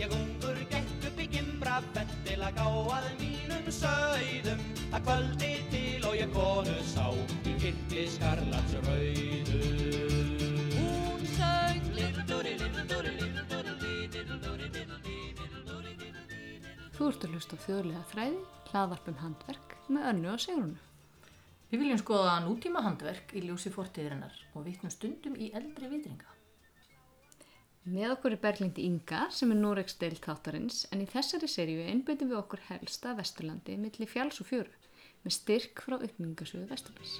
Ég ungur gekk upp í gimbra fett til að gá að mínum sögðum að kvöldi til og ég konu sá í kitti skarlats rauðu Hún sög Little-dúri, little-dúri, little-dúri, little-dúri, little-dúri, little-dúri, little-dúri Þú ert að hlusta á þjóðlega þræði, hlaðvarpum handverk með önnu og segrunu. Við viljum skoða nútíma handverk í ljósi fortíðirinnar og vitnum stundum í eldri vitringa. Með okkur er Berglind Inga sem er Norex deil þáttarins en í þessari seríu einbyttum við okkur helsta Vesturlandi milli fjáls og fjöru með styrk frá uppmyngasöðu Vesturlands.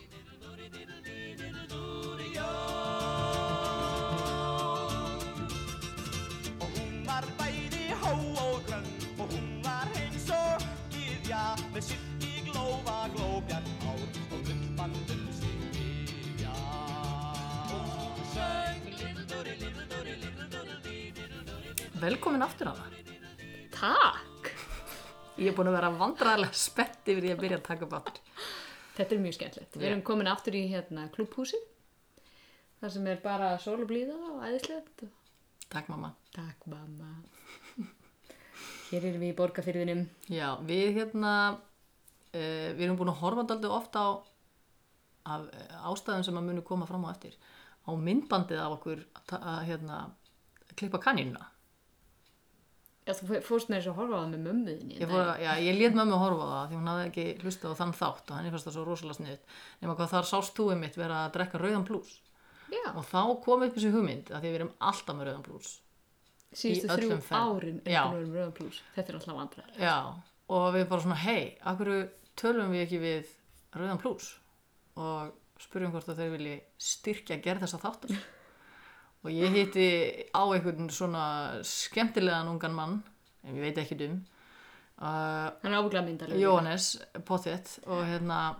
Og hún var bæði hó og grönn Og hún var eins og gyðja Með sitt í glófa glóbjarn ár Og gumbandum sig viðja Og hún söng Little-dúri, little-dúri, little-dúri Velkomin aftur á það. Takk! Ég er búin að vera vandræðilega spett yfir því að byrja að taka bátur. Þetta er mjög skemmtilegt. Við erum komin aftur í hérna klúbhúsi þar sem er bara sól og blíða og æðislegt. Takk mamma. Takk mamma. Hér erum við í borgarfyrðinum. Já, við hérna, uh, við erum búin að horfa daldið ofta á af, eh, ástæðum sem að munu koma fram á eftir. Á myndbandið af okkur að, ta- að hérna, klippa kanínuna. Já, þú fó- fórst með þess að horfa á það með mömmuðinni. Ég, fór, að- já, ég lét mömmu horfa á það því hún hafði ekki hlustað á þann þátt og henni fannst það svo rosalega sniðut. Nefna hvað þar sást þú einmitt vera að drekka rauðan blús. Já, Og þá kom upp þessi hugmynd að því við erum alltaf með rauðan blús. síðustu í þrjú öllum ferð. árin Já. eftir um rauðan plús. Þetta er alltaf vandræð. Já, og við bara svona, hei, akkur tölum við ekki við rauðan blús? Og spurjum hvort að þeir vilji styrkja gerð þessa þáttum. Og ég hitti á einhvern svona skemmtilegan ungan mann, en ég veit ekki um, uh, Hann er ábygglega myndarlega. Jóhannes Pottet og hérna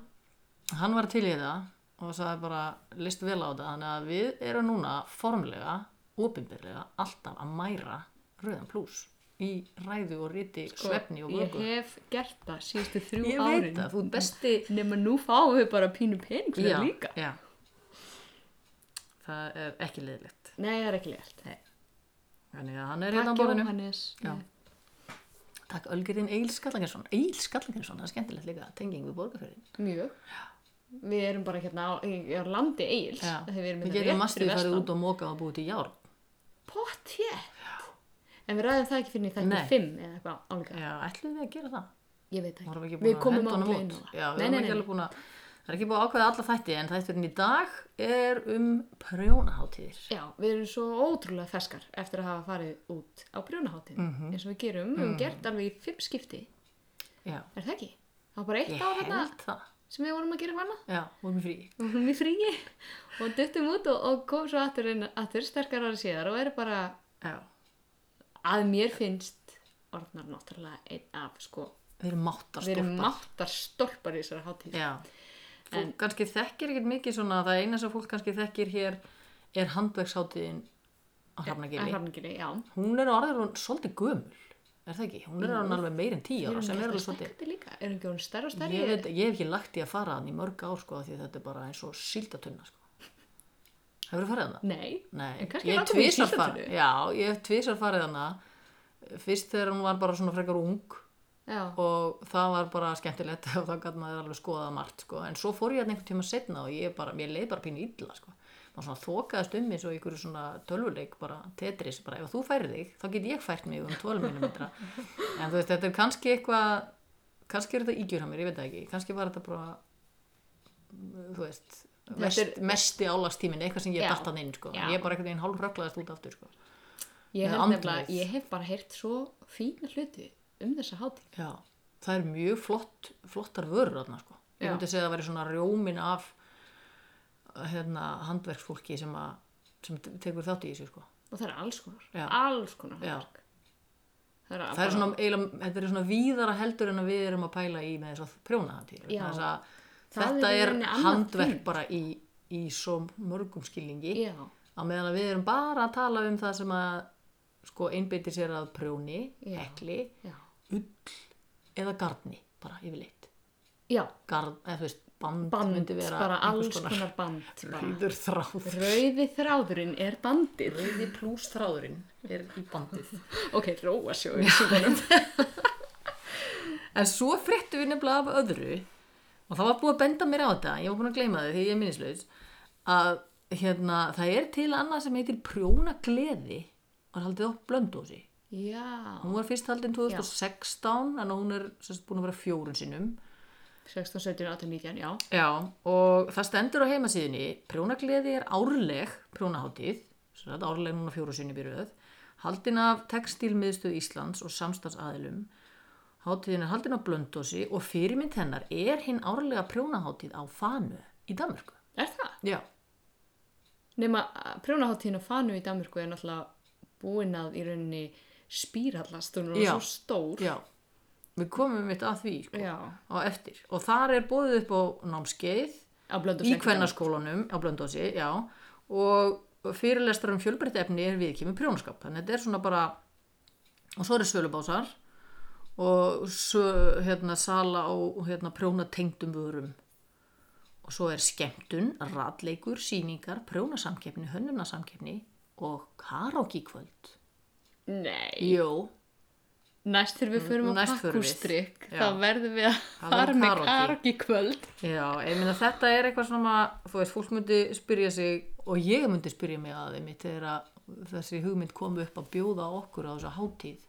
hann var til í það og sagði bara list vel á þetta þannig að við erum núna formlega opinbyrlega alltaf að mæra rauðan plús í ræðu og riti, svefni og vöku Sko, Ég hef gert það síðustu þrjú Ég árin. veit það, þú ert besti Nefna nú fáum við bara pínu pening fyrir já, það líka. já. það er ekki leðilegt Nei, það er ekki leilt. þannig að hann er hérna á Takk borðinu Jóhannes. Já. Takk Ölgerinn Egil Skallagjarsson Egil Skallagjarsson, það er skemmtilegt líka tenging við borgarferðin Mjög. Við erum bara hérna á, í- á landi eigils. Þegar við erum hérna Við getum mastið farið út og mókað og búið til járn Pott hér. En við ræðum það ekki fyrir þetta Nei. fimm eða eitthvað álíka. Já, ætlum við að gera það? Ég veit vorum það við ekki. ekki búin Við að komum henda honum aldrei inn á út það. já, við Nei, vorum nei, ekki nei. alveg búin að það er ekki búin að ákveða alla þætti en þætturinn í dag er um prjónaháttíðir Já, við erum svo ótrúlega ferskar eftir að hafa farið út á brjónaháttin Mhm. eins og við gerum, við höfum gert alveg í fimm skipti já, er það ekki? Það var bara eitt ég ár held hérna það sem við vorum að gera vana já, vorum við frí við vorum í fríi og duttum út og, og kom svo aftur, inn, aftur sterkar ára síðar og eru bara já. að mér finnst orðnar náttúrulega einn af sko, við erum máttar við erum máttar stolpar í þessari hátíð já, fólk kannski þekkir ekkert mikið svona það eina sem fólk kannski þekkir hér er handvegsháttíðin á að Hrafnagili harningili, já hún er orðið hún svolítið gömul er það ekki? hún er orðin alveg meir en tíu ára sem er alveg svolítið svolítið líka, erum ekki hún stærra og stærri ég, veit, ég hef ekki lagt í að fara hann í mörg ár sko, af því að þetta er bara eins og síldatunna sko. hefur þú farið hann? nei, Nei, en kannski ég hef langar mig í tvisvar farið síldatunnu. Já, ég hef tvisar farið hana Fyrst þegar hún var bara svona frekar ung já, og það var bara skemmtilegt og þá gæti maður alveg skoðað margt sko. en svo fór ég hann einhvern tíma setna og ég bara, mér leið bara pínu illa sko. maður svona þokaðist um eins og ykkur svona tölvuleik bara tetris, bara ef þú færir þig þá get ég fært mig um 12 minúmetra en þú veist, þetta er kannski eitthvað kannski er þetta ígjur á mér, ég veit það ekki kannski var þetta bara mm, þú veist, Þetta mest, er- mesti álagstímin eitthvað sem ég Já. datt hann inn sko. Já. en ég bara einhvern veginn hálf rögglaðist út aftur sko. Ég Með hef, nefnilega, andlitið. ég hef bara heyrt svo fína hluti um þessa hátíð. Já, það er mjög flott, flottar vörur þarna sko. Ég Já. myndi segja að það væri svona rjómin af hérna, handverksfólki sem, að, sem te- tekur þátt í þessu sko. Og það er alls konar, Já. alls konar Já. handverk. Það er, Það er svona, eiginlega, þetta er svona víðara heldur en að við erum að pæla í með þess að prjóna hann til. Já. Það Þetta er í er rauninni annað handverk tengt. bara í, í svo mörgum skilningi. Já, Á meðan að við erum bara að tala um það sem að sko einbyttir sér að prjóni, Já. hekli, já. ull eða garni bara yfirleitt. Já, garð, eða þú veist, band, band, myndi vera bara einhvers alls konar band bara. rauður þráð rauði þráðurinn er bandið rauði plús þráðurinn er í bandið ok, róa sjóðu síðanum en svo fréttum við nefnilega af öðru og það var búið að benda mér á þetta ég var búin að gleyma þið því ég er minnislaus að hérna, það er til annað sem heitir prjóna gleði og er haldið upp blöndósi já, hún var fyrst haldin 2016 en hún er sem sagt, búin að vera fjórun sinnum 16, 17, 18, 19, já Já, og það stendur á heimasíðinni Prjónagleði er árleg prjónaháttíð, sem þetta árleg núna fjóru sinni byrjuð, haldin af textilmiðstöð Íslands og samstagsaðilum. Háttíðin er haldin af blöndósi og fyrirmynd hennar er hinn árlega prjónaháttíð á Fanu í Danmörku. er það? Já. nema prjónaháttíðin og fanu í Danmörku er náttúrulega búin að í rauninni spýrallast, hún er Já. svo stór Já, við komum mitt að því sko, Já. á eftir. Og þar er bóðið upp á námskeið, á blöndu í kvennaskólanum á Blöndósi, já, og fyrirlestar um fjölbreytt efni er við kemur prjónaskap, þannig að þetta er svona bara, og svo eru sölubásar og svo, hérna, sala og hérna, prjóna tengdum vörum og svo er skemmtun, ratleikur, síningar, prjónasamkeppni, hönnunasamkeppni og karaoke kvöld. nei, Jó, næst þegar við förum á Næst förum við. pakkústrykk Já. þá verðum við að Það fara verður með karaoke. kargi kvöld Já, ég meina þetta er eitthvað svona, þú veist, fólk myndi spyrja sig og ég myndi spyrja mig að þeim þegar að þessi hugmynd kom upp að bjóða okkur á þessa hátíð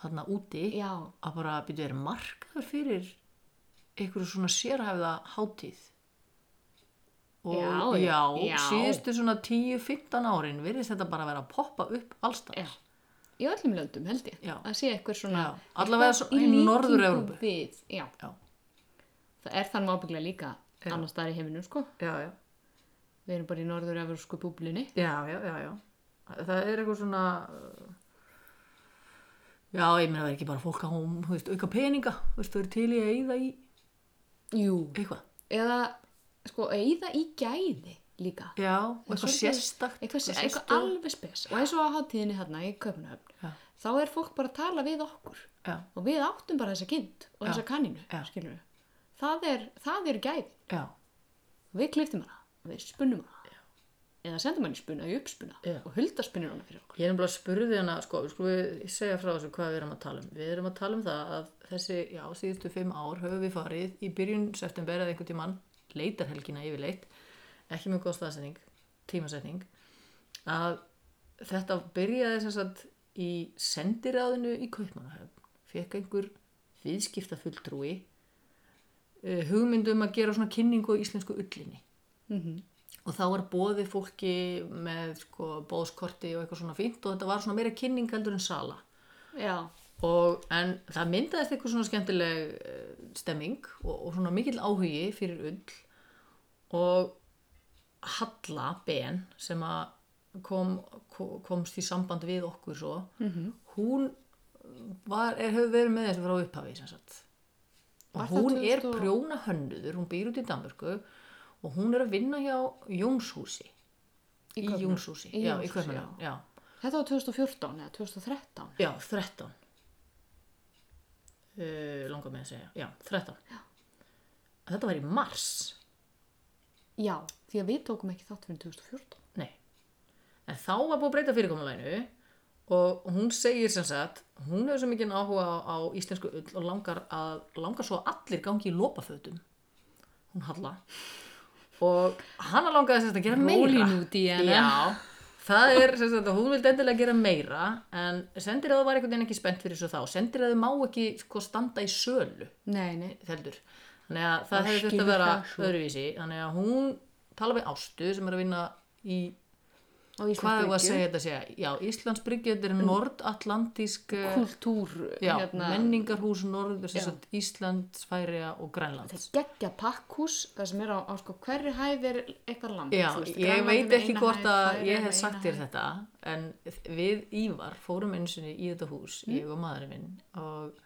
þarna úti já, að bara byrja verið markaður fyrir einhverju svona sérhæfða hátíð og Já, já, já. síðustu svona 10-15 árin virðist þetta bara vera að poppa upp já allstað í öllum löndum held ég Já. að sé eitthvað svona Já. Allavega eitthvað svo- í líkingu Norður-Evrópu. við, já. Já. það er þannig ábygglega líka annars staðar í heiminum sko Já, já, við erum bara í norður-evrósku búblinni Já, já, já, já. Það er eitthvað svona... uh, Já, ég meina það er ekki bara fólk að hún, þú veist, auka peninga, þú veist, þau eru til í að eyða í jú, eitthvað. eða sko, eða í gæði líka Já, og eitthvað Svolítið- sérstakt. eitthvað, sé- sérstakt. eitthvað alveg spes og eins og á hátíðinni hérna í Já. Köpunahöfn þá er fólk bara að tala við okkur Já, og við áttum bara þessa kind og þessa kaninu Já. skilur við það er, það er gæði já, við kliftum hana, við spunnum hana eða sendum hana í spunna, í uppspunna Já. og hulda spunnir hana fyrir okkur Ég er nefnilega að spurði hana, sko, við skulum við segja frá þessu hvað við erum að tala um. Við erum að tala um það að þessi, já, síðustu fimm ár höfum við farið í byrjun september eða einhvern tímann, leitarhelgina yfirleitt, ekki með góð staðsetning, tímasetning, að þetta byrjaði sem sagt í sendiráðinu í Kaupmannahöfn. Fekk einhver viðskipta fulltrúi hugmyndum eh, um að gera svona kynningu á íslensku ullinni og þá var bóðið fólki með sko, bóðskorti og eitthvað svona fínt og þetta var svona meira kynning heldur en sala já, og, en það myndaðist eitthvað svona skemmtileg eh, stemming og, og svona mikill áhugi fyrir ull og Halla Ben sem að kom, ko- komst í samband við okkur svo Mhm. -hmm. hún var, er, hefur verið með þessu frá upphafi sem sagt Var og það hún er 2000 og- prjóna hönnöður hún býr út í Danmörku og hún er að vinna hjá Jónshúsi Í í, Kaupmannahöfn. Jónshúsi, Í já, í Jónshúsi, Kaupmannahöfn, já. þetta var 2014 eða 2013 Já, 13 uh, langar mig að segja já, 13 já. þetta var í mars já, því að við tókum ekki þátt fyrir 2014 nei, en þá var búið að breyta fyrirkomulæginu og hún segir sem sagt, hún hefur svo mikið áhuga á, á íslensku ull og langar að langar svo að allir gangi í lopafötum hún halla og hana langaði sem sagt að gera meira Rolling út í hana. já, það er sem sagt að hún vildi endilega gera meira en sendir að það var einhvern veginn ekki spennt fyrir svo þá sendir að það má ekki sko standa í sölu nei, nei, heldur þannig að það Það hefur þetta skilur að vera það svo. öðruvísi þannig að hún tala við Ástu sem er að vinna í á hvað er að Íslandsbyggju segja þetta að segja já, Íslandsbryggju, þetta er nordatlantísk eh, kultúr, já, Mm. hérna menningarhús norður, Já. sem sagt Ísland, Færiða og það Grænlands er geggja pakkhús það sem er á, á sko, hverri hæð er eitthvað land Já, þú veist, ég Grænland er veit með ekki eina hvort hæð, að Færeyjar ég með hef sagt eina þér hæð. þetta en við Ívar fórum einu sinni í þetta hús, Mm. ég og maðurinn minn og,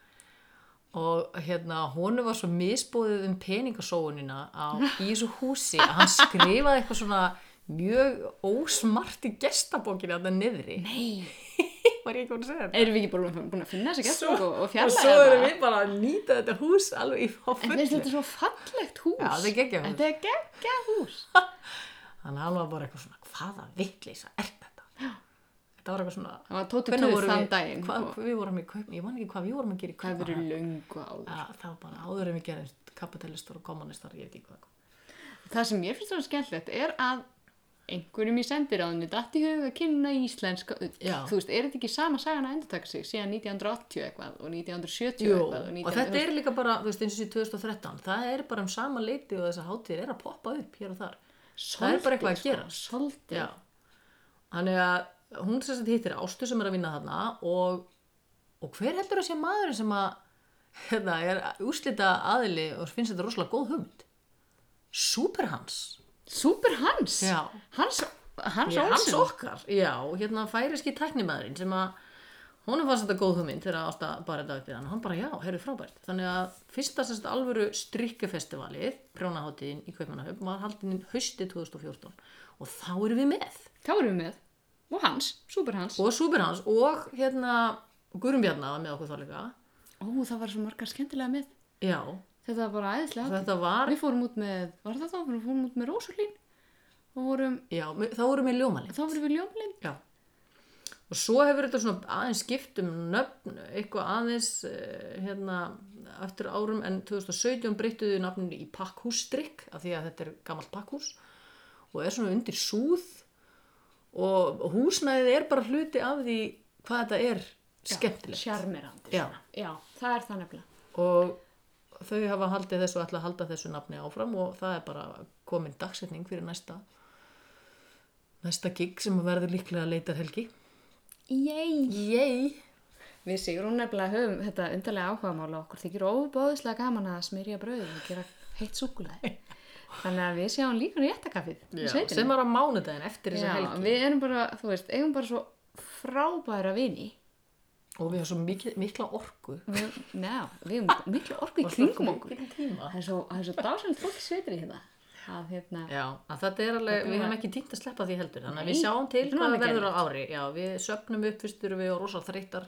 og hérna honu var svo misbúðið um peningasóunina á, í þessu húsi að hann skrifaði eitthvað svona mjög ósmart í gestabókinu að það niðri Nei, var ég ekki búin að segja þetta Erum við ekki bara búin- búin að finna þessi Svo- gæstfólk og, og og fjalla svo erum við bara að nýta þetta hús alveg í á En finnst fullu. þetta svo fallegt hús? Já, þetta er geggjað hús. Þetta er geggjað hús. þannig að hann var bara eitthvað svona hvaða vittleysa er þetta þetta var eitthvað svona Það var Tóti hvenær Töð vorum þann við- daginn. hvað, og hvað við vorum í kaupin, ég man ekki hvað við vorum að gera í Það kaupin hefur verið löngu áður. það var bara áður en við gerum kapitalistar og kommunistar, ég veit ekki hvað Það sem ég finnst það skemmtilegt er að einhverjum í sendiráðinu datt í hug að kynna íslenska ull. Já. Þú veist, er þetta ekki sama sagan að endurtaka sig síðan 1980 eitthvað og 1970 Jú, eitthvað og, 19... og þetta er líka bara, þú veist, eins og í 2013 það er bara um sama leiti og þessar hátíðir er að poppa upp hér og þar það er bara eitthvað að gera Svolítið. Já. þannig að hún sem sagt hittir Ástu sem er að vinna þarna og, og hver heldur að sé maðurinn sem að hérna, er úrslita aðili og finnst þetta rosalega góð hugmynd Superhans Súper Hans. Já. Hans, Hans Já, hans Olsen. okkar, já, hérna færiski tæknimaðurinn sem að honum fannst þetta góð hugmynd þegar Ásta bara þetta upp við hann og hann bara já, heyrðu frábært þannig að fyrsta sérst alvöru strikkefestivalið prjónaháttiðin í Kaupmannahöfn var haldin haustið 2014 og þá erum við með Þá erum við með. Og Hans, Súper Hans. og Súperhans og hérna Guðrun Bjarnar var með okkur þá líka Ó, það var svo margar skemmtilega með. já, Þetta var bara æðislega. þetta var Við fórum út með, var það þá? Við fórum út með Rósulín og vorum, já, mi- þá vorum við ljómalinn þá vorum við ljómlind. já og svo hefur þetta svona aðeins skipt um nöfn eitthvað aðeins eh, hérna eftir árum en 2017 breyttuðu nafninu í pakkhússtrykk af því að þetta er gammalt pakkhús og er svona undir súð og húsnæðið er bara hluti af því hvað þetta er skemmtilegt Sjarmerandi. Já. Já, það er það nefnilega. og þau hafa haldið þessu og ætla að halda þessu nafni áfram og það er bara komin dagsetning fyrir næsta næsta gig sem verður líklega leitarhelgi Yay! Yay! Við Sigrún nefnilega höfum þetta undarlega áhuga mála okkur þykir óbóðislega gaman að smyrja brauðið og gera heitt súkulaði. Þannig að við sjáum líka réttakaffið í Já, sveitinni. sem var á mánudaginn eftir Já, þessa helgi við erum bara, þú veist, eigum bara svo frábæra vini. og við höfum svo mikil, mikla orku Við, neða, við erum miklu orku í kringum okkur. tíma. Það er svo, það er svo dásanlega fólk sveitir í þetta. Að, hérna, Já, að þetta er alveg, við var- höfum ekki tímt að sleppa því heldur þannig að Nei, við sjáum til þetta er hvað alveg verður á ári Já, við söpnum upp fyrst erum við og rosa þreytar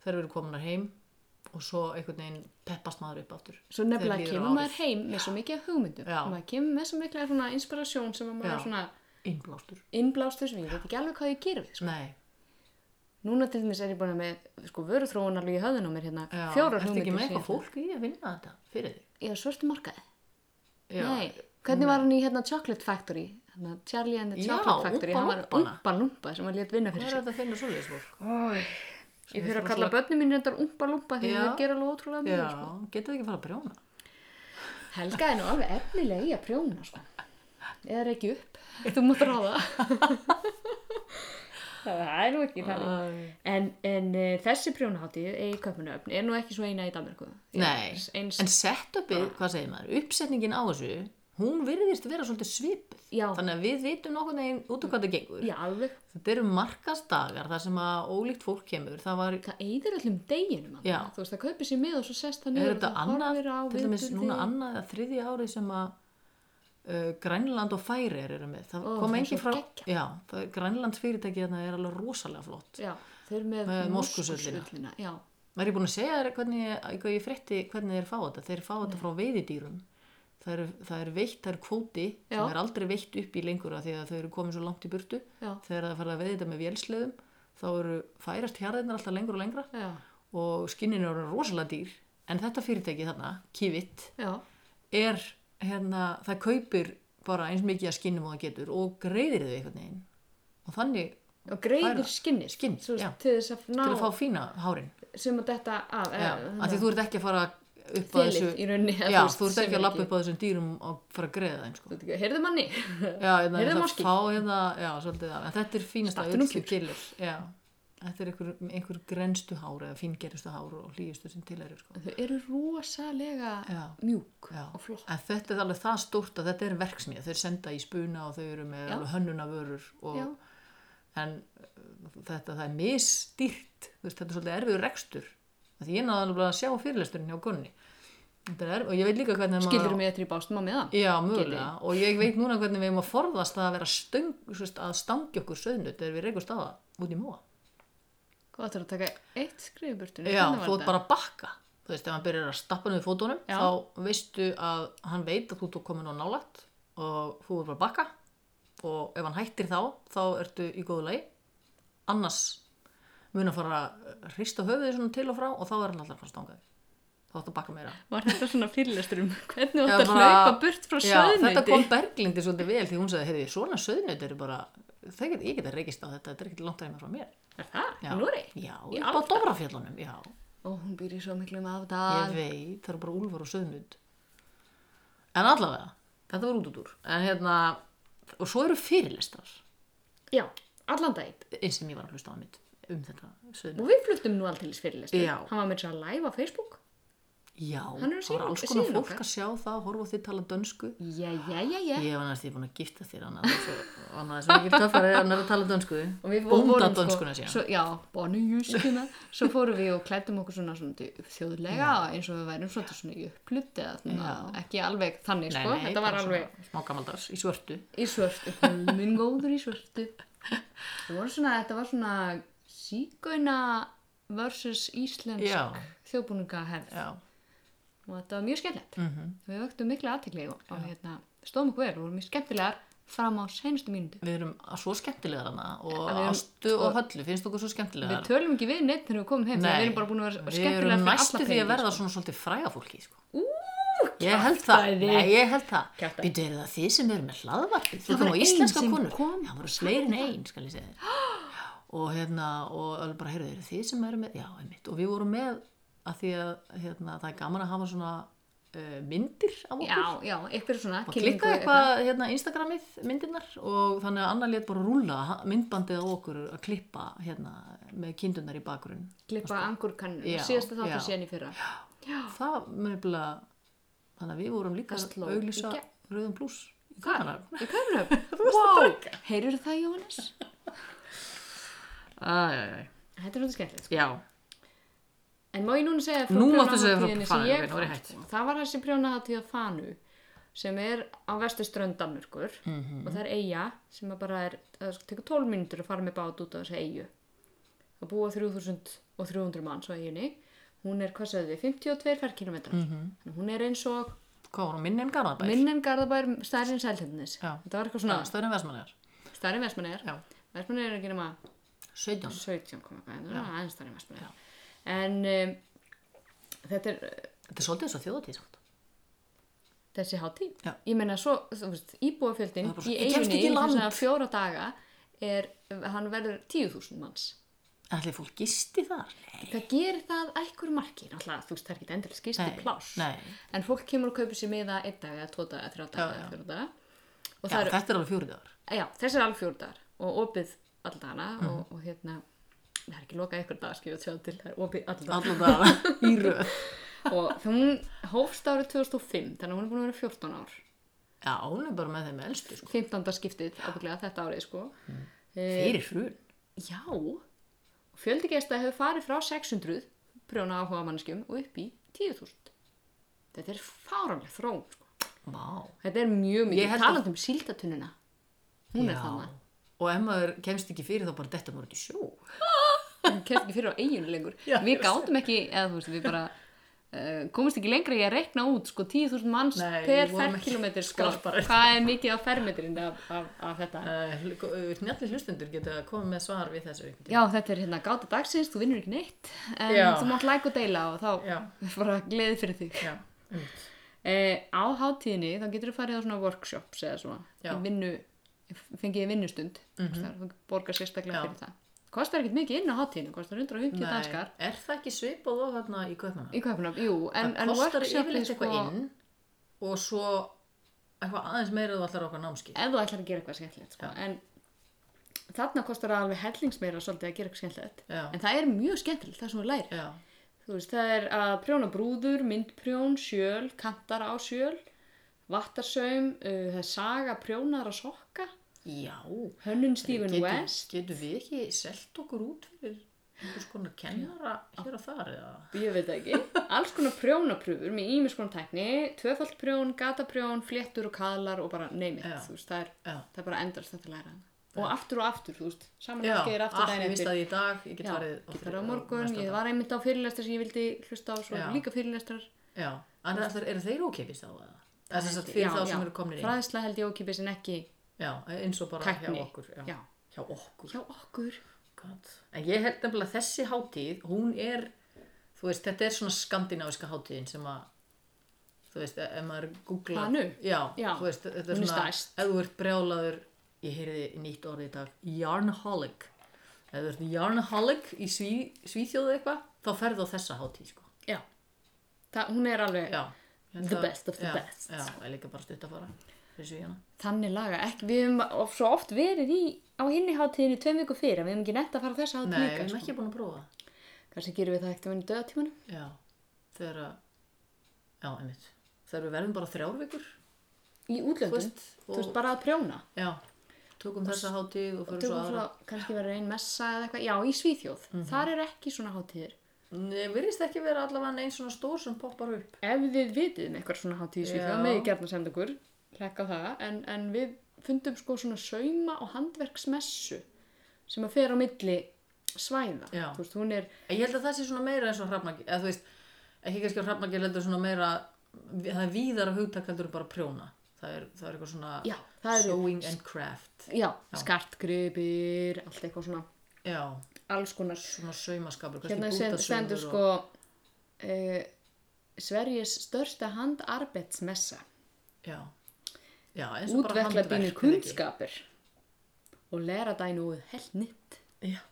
þegar við erum kominar heim og svo einhvern veginn peppast maður upp aftur Svo þegar nefnilega líður á kemur árið. maður heim með svo mikið af hugmyndum. Já. Maður kemur með svo mikla svona inspirasjón sem að maður Já. er svona innblástur innblástur sem ég veit ekki alveg hvað ég gerir. Sko. Nei, Núna til dæmis er ég búin að með sko, vöruþróun alveg í höðun á mér hérna. já, Fjórar ertu hugmyndir. ekki með síðan. eitthvað fólk í að vinna þetta fyrir þig? Ég er svörstu markaði. Já, Mm. Nei. Hvernig var hann í hérna Chocolate Factory? Hérna, Charlie and the Já, Chocolate Factory. Hann var Umpa-Lumpana. Umpa Lumpa sem hann létt vinna hvað fyrir er sig. þetta að finna svoleiðis fólk? Ói. Ég Sem fyrir er að kalla rosalega- börnum mín reyndar Umpa Lumpa því Já. þau gera alveg ótrúlega Já, mjög. Sko. getur þið ekki að fara að brjóna? Helga er nú alveg efnileg í að prjóna sko. eða reykja upp þú mátt ráða það er nú ekki þannig en, en uh, þessi prjónaháttíð í Köpunöfn er nú ekki svo eina í Danmarku Nei, eins, en setupið, hvað segir maður, uppsetningin á þessu, hún virðist vera svolítið svipuð. Já. Þannig að við vitum nokkurn veginn út og hvað það gengur. já, alveg, Þetta eru markastagar þar sem að ólíkt fólk kemur. Það var, það eyðir allum deginum Já. annað. þú veist, það kaupir sér með og svo sest það er niður þetta og annað, horfir á til dæmis viðburði. núna annað eða þriðja árið sem að uh, Grænland og Færir eru með. Það Ó, það kom er engin svo frá, geggjað. já, það, Grænlands fyrirtæki þarna er alveg rosalega flott. já, þau eru með Með moskusullina. moskusullina, já Maður er búin að segja þér hvernig, ég- hvað ég frétti hvernig þeir fá þetta. Þeir fá Mm. þetta frá veiðidýrum. Það er, það er veitt, það er kvóti Já. sem er aldrei veitt upp í lengur af því að þau eru komin svo langt í burtu. já, Þegar það fara að veiða þetta með vélsleðum þá eru færast hjarðirnar alltaf lengur og lengra já, og skinninu eru rosalega dýr. En þetta fyrirtæki þarna, Kivit, já er hérna, það kaupir bara eins mikið að skinnum og það getur og greiðir þau einhvern veginn. Og þannig og greiðir Færa- skinnið skinn, svo, já. til þess að ná til að fá fína hárin. sem að þetta af eh, Já, af hérna. því þú ert ekki að fara upp að þilið í þessu rauninni eða Já, veist, þú ert sem ekki er að lappa upp á þessum dýrum og fara að greiða þeim sko. Þú veit ekki, heyrðu manni Já, hérna, Heyrðu, það máski. fá hérna, já, svolítið það. En þetta er fínasta Stattu nú öllu gilir. Já, þetta er einhver, einhver grenstu hár eða fíngerustu hár og hlýjustu sem til eru sko. Þau eru rosalega Já. mjúk Já, og flott en þetta er alveg það stórt að þetta er verksmið, þau senda í spuna og þau eru með Já. alveg hönnunavörur og, Já. en uh, þetta það er misstýrt, þú veist, þetta er svolítið erfiður rekstur, Af því ég náði alveg að sjá fyrirlesturinn hjá Gunni Þetta er erf, og ég veit líka hvernig maður- Skildur mig eftir í bástum á meðan Já, mögulega. Og ég veit núna hvernig við erum að forðast að vera stöng, svist, að stangja okkur söðnut þegar við reykum staða út í móa. Hvað ætlar að taka eitt skrif í burtu? Já, þú ert bara að bakka þú veist, ef hann byrjar að stappa niður fótunum Já. þá veistu að hann veit að þú ert komin á nálægt og þú ert bara að bakka og ef hann hættir þá, þá ertu í góðu lagi annars mun að fara að hrista höfuðið svona til og frá og þá er hann alltaf að fara að stanga þig þá ert að bakka meira Var þetta svona fyrirlestur um hvernig þú Já, ætti að bara- hlaupa burt frá Hérna, Já, þetta söðneyti? kom Berglindi svolítið vel því hún sagði, heyrði, svona söðnöð eru bara þau get, ég get að reykist á þetta, þetta er ekkert langt aðeins frá mér Er það? Já. Í Núri? Já, Í upp á Dofrafjöllunum, já Ó, hún býr í svo miklu um Ég afdal. veit, það eru bara úlfar og söðnud En allavega, þetta var út út úr En hérna, og svo eru fyrirlestrar Já, allan daginn. eins sem ég var að hlusta á mitt um þetta söðnud Og við fluttum nú alltaf fyrirlestur. Já. Hann var með þess að live á Facebook. Já, Hann er á það var síðan- alls konar síðan fólk okkar. að sjá það horfa á þig tala dönsku Já, já, já, já. Ég var næst því búin að gifta þér annað þess að mikil töffari hann er að tala dönsku Og við vo- Bónda vorum, dönskuna sko, síðan svo, já, bonujúskuna svo fórum við og klættum okkur svona, svona þjóðlega eins og við værum svona, svona í upplut eða svona, ekki alveg þannig sko, þetta var bara svona alveg Smá gammaldags, í svörtu í svörtu, minn góður í svörtu það voru svona, þetta var svona sígauna versus íslensk Já. þjóðbúningaherð Já, Mhm. og þetta var mjög skemmtilegt við vöktum mikla aðtikli og, og hérna, stóðum okkur vel og vorum mjög skemmtilegar fram á seinustu mínútu við erum svo skemmtilegar hana og við erum sko- Ástu og Höllu finnst okkur svo skemmtilegar Við tölum ekki við neitt þegar við komum heim, þannig að við erum bara búin að vera við skemmtilega erum fyrir næstu alla því peninga, sko. að verða svona svolítið fræga fólki sko. ég held það, kjaftæði. nei ég held það Kjaftæði. býtu eru það þið sem eru með hlaðvarpið þú Það var kom á ein íslenska sem konur kom. það voru fleiri en ein skal ég segja þér. og hérna og alveg bara heyrðu eru þið sem eru með já, einmitt, og við vorum með að því að hérna, það er gaman að hafa svona uh, myndir af okkur Já, já, eitthvað svona og kynningu klikka eitthvað hérna Instagramið myndirnar og þannig að Anna let bara rúla myndbandið á okkur að klippa hérna með kindurnar í bakgrunn klippa angurkannu, Já, síðasta þáttu já. síðan í fyrra það mér bila þannig að við vorum líka Það sló að auglýsa í gegn. rauðum pluss í Kaupmannahöfn. Í Kaupnöf, wow, heyrur það Jónas? Æ, æ, Þetta æ. er náttúrulega skemmtilegt sko. já, En má ég núna segja Nú máttu segja prjónahátíðinni frá Fanu, sem ég ok, nú er ég fann, hætt. sko. Það var þessi prjónahátíð að fanu sem er á vestuströnd Danmörkur Mhm. og það er eiga sem að bara er, það er- tekur 12 mínútur að fara með bát út á þessi eigu það búa 3300 manns á eiginni hún er, hvað sagði við, 52 ferkilometrar Mhm. -hmm. hún er eins og hvað var hún minni en Garðabæl? minn en Garðabær stærri en Sælhjöfnis Já. þetta var eitthvað já, svona stöðnum Vestmannegar stærri en Vestmannegar Já. Vestmannegar er ekki nema 17 17 koma eitthvað, en það er aðeins stærri en Vestmannegar en um, þetta er uh, þetta er svolítið svo þjóðatíð samt þessi hátíð Já. ég meina svo, þú veist, íbúafjöldin Það er í bara svo- ég kemst eiginni ekki í í land. þessar fjóra daga er, hann verður 10.000 manns ætli fólk gisti þar? nei, það gerir það að einhverju marki náttúrulega, þú veist, það er ekki endilega skýrstu Nei, pláss nei. en fólk kemur og kaupir sér miða einn dag eða tvo daga, þrjá daga, eða Já, já. fjóra daga og já, það eru þetta er alveg fjóri dagar já, þessi er alveg fjóru dagar og opið alldana Mhm. mm og, og hérna það er ekki lokað ykkur dag skilja tjóð til það er opið alldana allan dagar í röð og þegar hún hófst árið 2005 þannig að hún er búin að vera 14 ár já, hún er bara með þeim elstu sko. 15. skiptið ábygglega þetta árið sko mm. fyrir hrun já fjöldi gesta hefur farið frá 600 prjóna áhuga manneskjum og upp í 10.000 þetta er fáranlega þrón sko. Vá. þetta er mjög Ég mikið held að- talandi um síldatununa hún er Já. þannig og ef maður kemst ekki fyrir þá bara detta maður út í sjó hún kemst ekki fyrir á eiginu lengur Já, við gátum ekki, eða þú veist, við bara uh, komumst ekki lengra í að rekna út sko 10.000 manns Nei, per við vorum ekki ferkilometr sko, skraparar. hvað er mikið á fermetrin af, af, af þetta Eh. njallir hlustendur geta komið með svar við þessu já, þetta er hérna gáta dagsins, þú vinnur ekki neitt en Já. þú mátt like og deila og þá Já. bara gleði fyrir þig já, uh, á hátíðinni, þá getur þú farið á svona workshops eða svona, Já. Mhm. Í vinnu fengið vinnustund mm -hmm. þú borgar sérstaklega Já. fyrir það kostar ekkert mikið inn á hátíðinu, kostar 150 Nei, danskar er það ekki svipað og þarna í Kaupmannahöfn? í Kaupnab, jú, en, en það kostar workshopið, yfirleitt sko, eitthvað inn og svo eitthvað aðeins meira þú allar okkar námskið ef þú ætlar að gera eitthvað skemmtilegt sko. en þarna kostar það alveg hellingsmeira svolítið að gera eitthvað skemmtilegt Já. en það er mjög skemmtilegt það sem við læri já, þú veist, það er að prjóna brúður, myndprjón, sjöl kantar á sjöl vattarsaum, uh, það er saga prjónar að sokka, já. hönnun Stephen Getum- West getum við ekki selt okkur út fyrir einhvers konar kennara hér og þar eða ég veit það ekki, alls konar prjónapröfur með ímis konar tækni, tvöfald prjón gataprjón, fléttur og kaðlar og bara neymið, Já. þú veist, það er, Já. það er bara endast þetta læra og aftur og aftur, þú veist saman Já, námskeiðir aftur allt, ég daginn vissi eftir það í dag, ég get Já, farið á ég þriðja þarf á og morgun, næsta ég dag. var einmitt á fyrirlestra sem ég vildi hlusta á svo Já. líka fyrirlestrar Já, en það er, eru þeir ókipis þá eða? Það er þess að fyrir Já, þá já. sem eru komnir inn. fræðsla held ég ókipis en ekki Já, eins og bara Tækni. hjá okkur. Já. Hjá okkur. hjá okkur God. En ég held nefnilega að þessi hátíð, hún er, þú veist, þetta er svona skandinaviska hátíðin sem að, þú veist, e- ef maður googlar. Fanu? Já, Já, þú veist, þetta er hún er svona, stærst. ef þú ert brjálaður, ég heyrði nýtt orðið í dag, yarnholic. Ef þú ert yarnholic í sví, svíþjóðu eitthvað, þá ferðu á þessa hátíð, sko. já, það, hún er alveg já, Ég held The að- best of the já, best. já, ég líka bara stutt að fara fyrir hérna. svíjana þannig laga, ekki, við hefum of- svo oft verið í, á hinni hátíðinni tveim viku fyrir, við hefum ekki netta að fara á þessa hátíð nei, við líka erum sko. ekki búin að prófa það. kannski gerum við það ekkert að vinna döðatímanum já, þegar að já, einmitt, þegar við verðum bara þrjár vikur í útlöndum, þú Þú veist, veist, og- bara að prjóna já, tökum þessa hátíð og og fyrir svo tökum aðra Mhm. frá, kannski verður einn messa eða eitthvað, já, í Svíþjóð þar er ekki svona hátíðir Nei, virðist ekki vera allavega einn svona stór sem poppar upp ef þið vitið um eitthvað svona hátíð í Já. Svíþjóð með ég gerna senda okkur, hlækka á það en, en við fundum sko svona sauma og handverksmessu sem að fer á milli svæða Já. þú veist, hún er, En ég held að það sé svona meira eins og hrafnagil eða þú veist, ekki kannski á hrafnagil heldur svona meira það er víðara hugtak heldur en bara prjóna það er, það er eitthvað svona Já, það eru- sewing and craft já, skartgripir allt eitthvað svona, já, alls konar svona saumaskapur hérna kannski sen- bútasaumur stendur og- sko uh, Sveriges största handarbeidsmessa Já, já eins og bara útverkla handverk, dýni er það ekki? kunnskapir og læra dænu helt nýtt Já,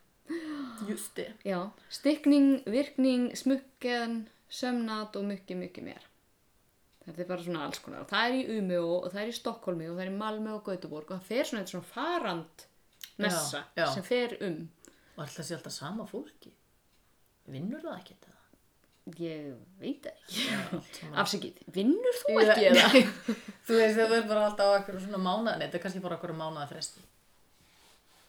justi já, stikning, virkning, smukken sömnat og mykki, mykki mér þetta er bara svona alls konar og það er í Umeå og það er í Stokkólmi og það er í Malmö og Göteborg og það fer svona, þetta er svona farand messa Já, já. sem fer um Og alltaf sé alltaf sama fólki Vinnur það ekki þetta? ég veit það ekki Já, afsikið, vinnur þú ekki eða? Þú veist það er bara alltaf á einhverju svona mánuð Nei, þetta er kannski bara einhverju mánuða fresti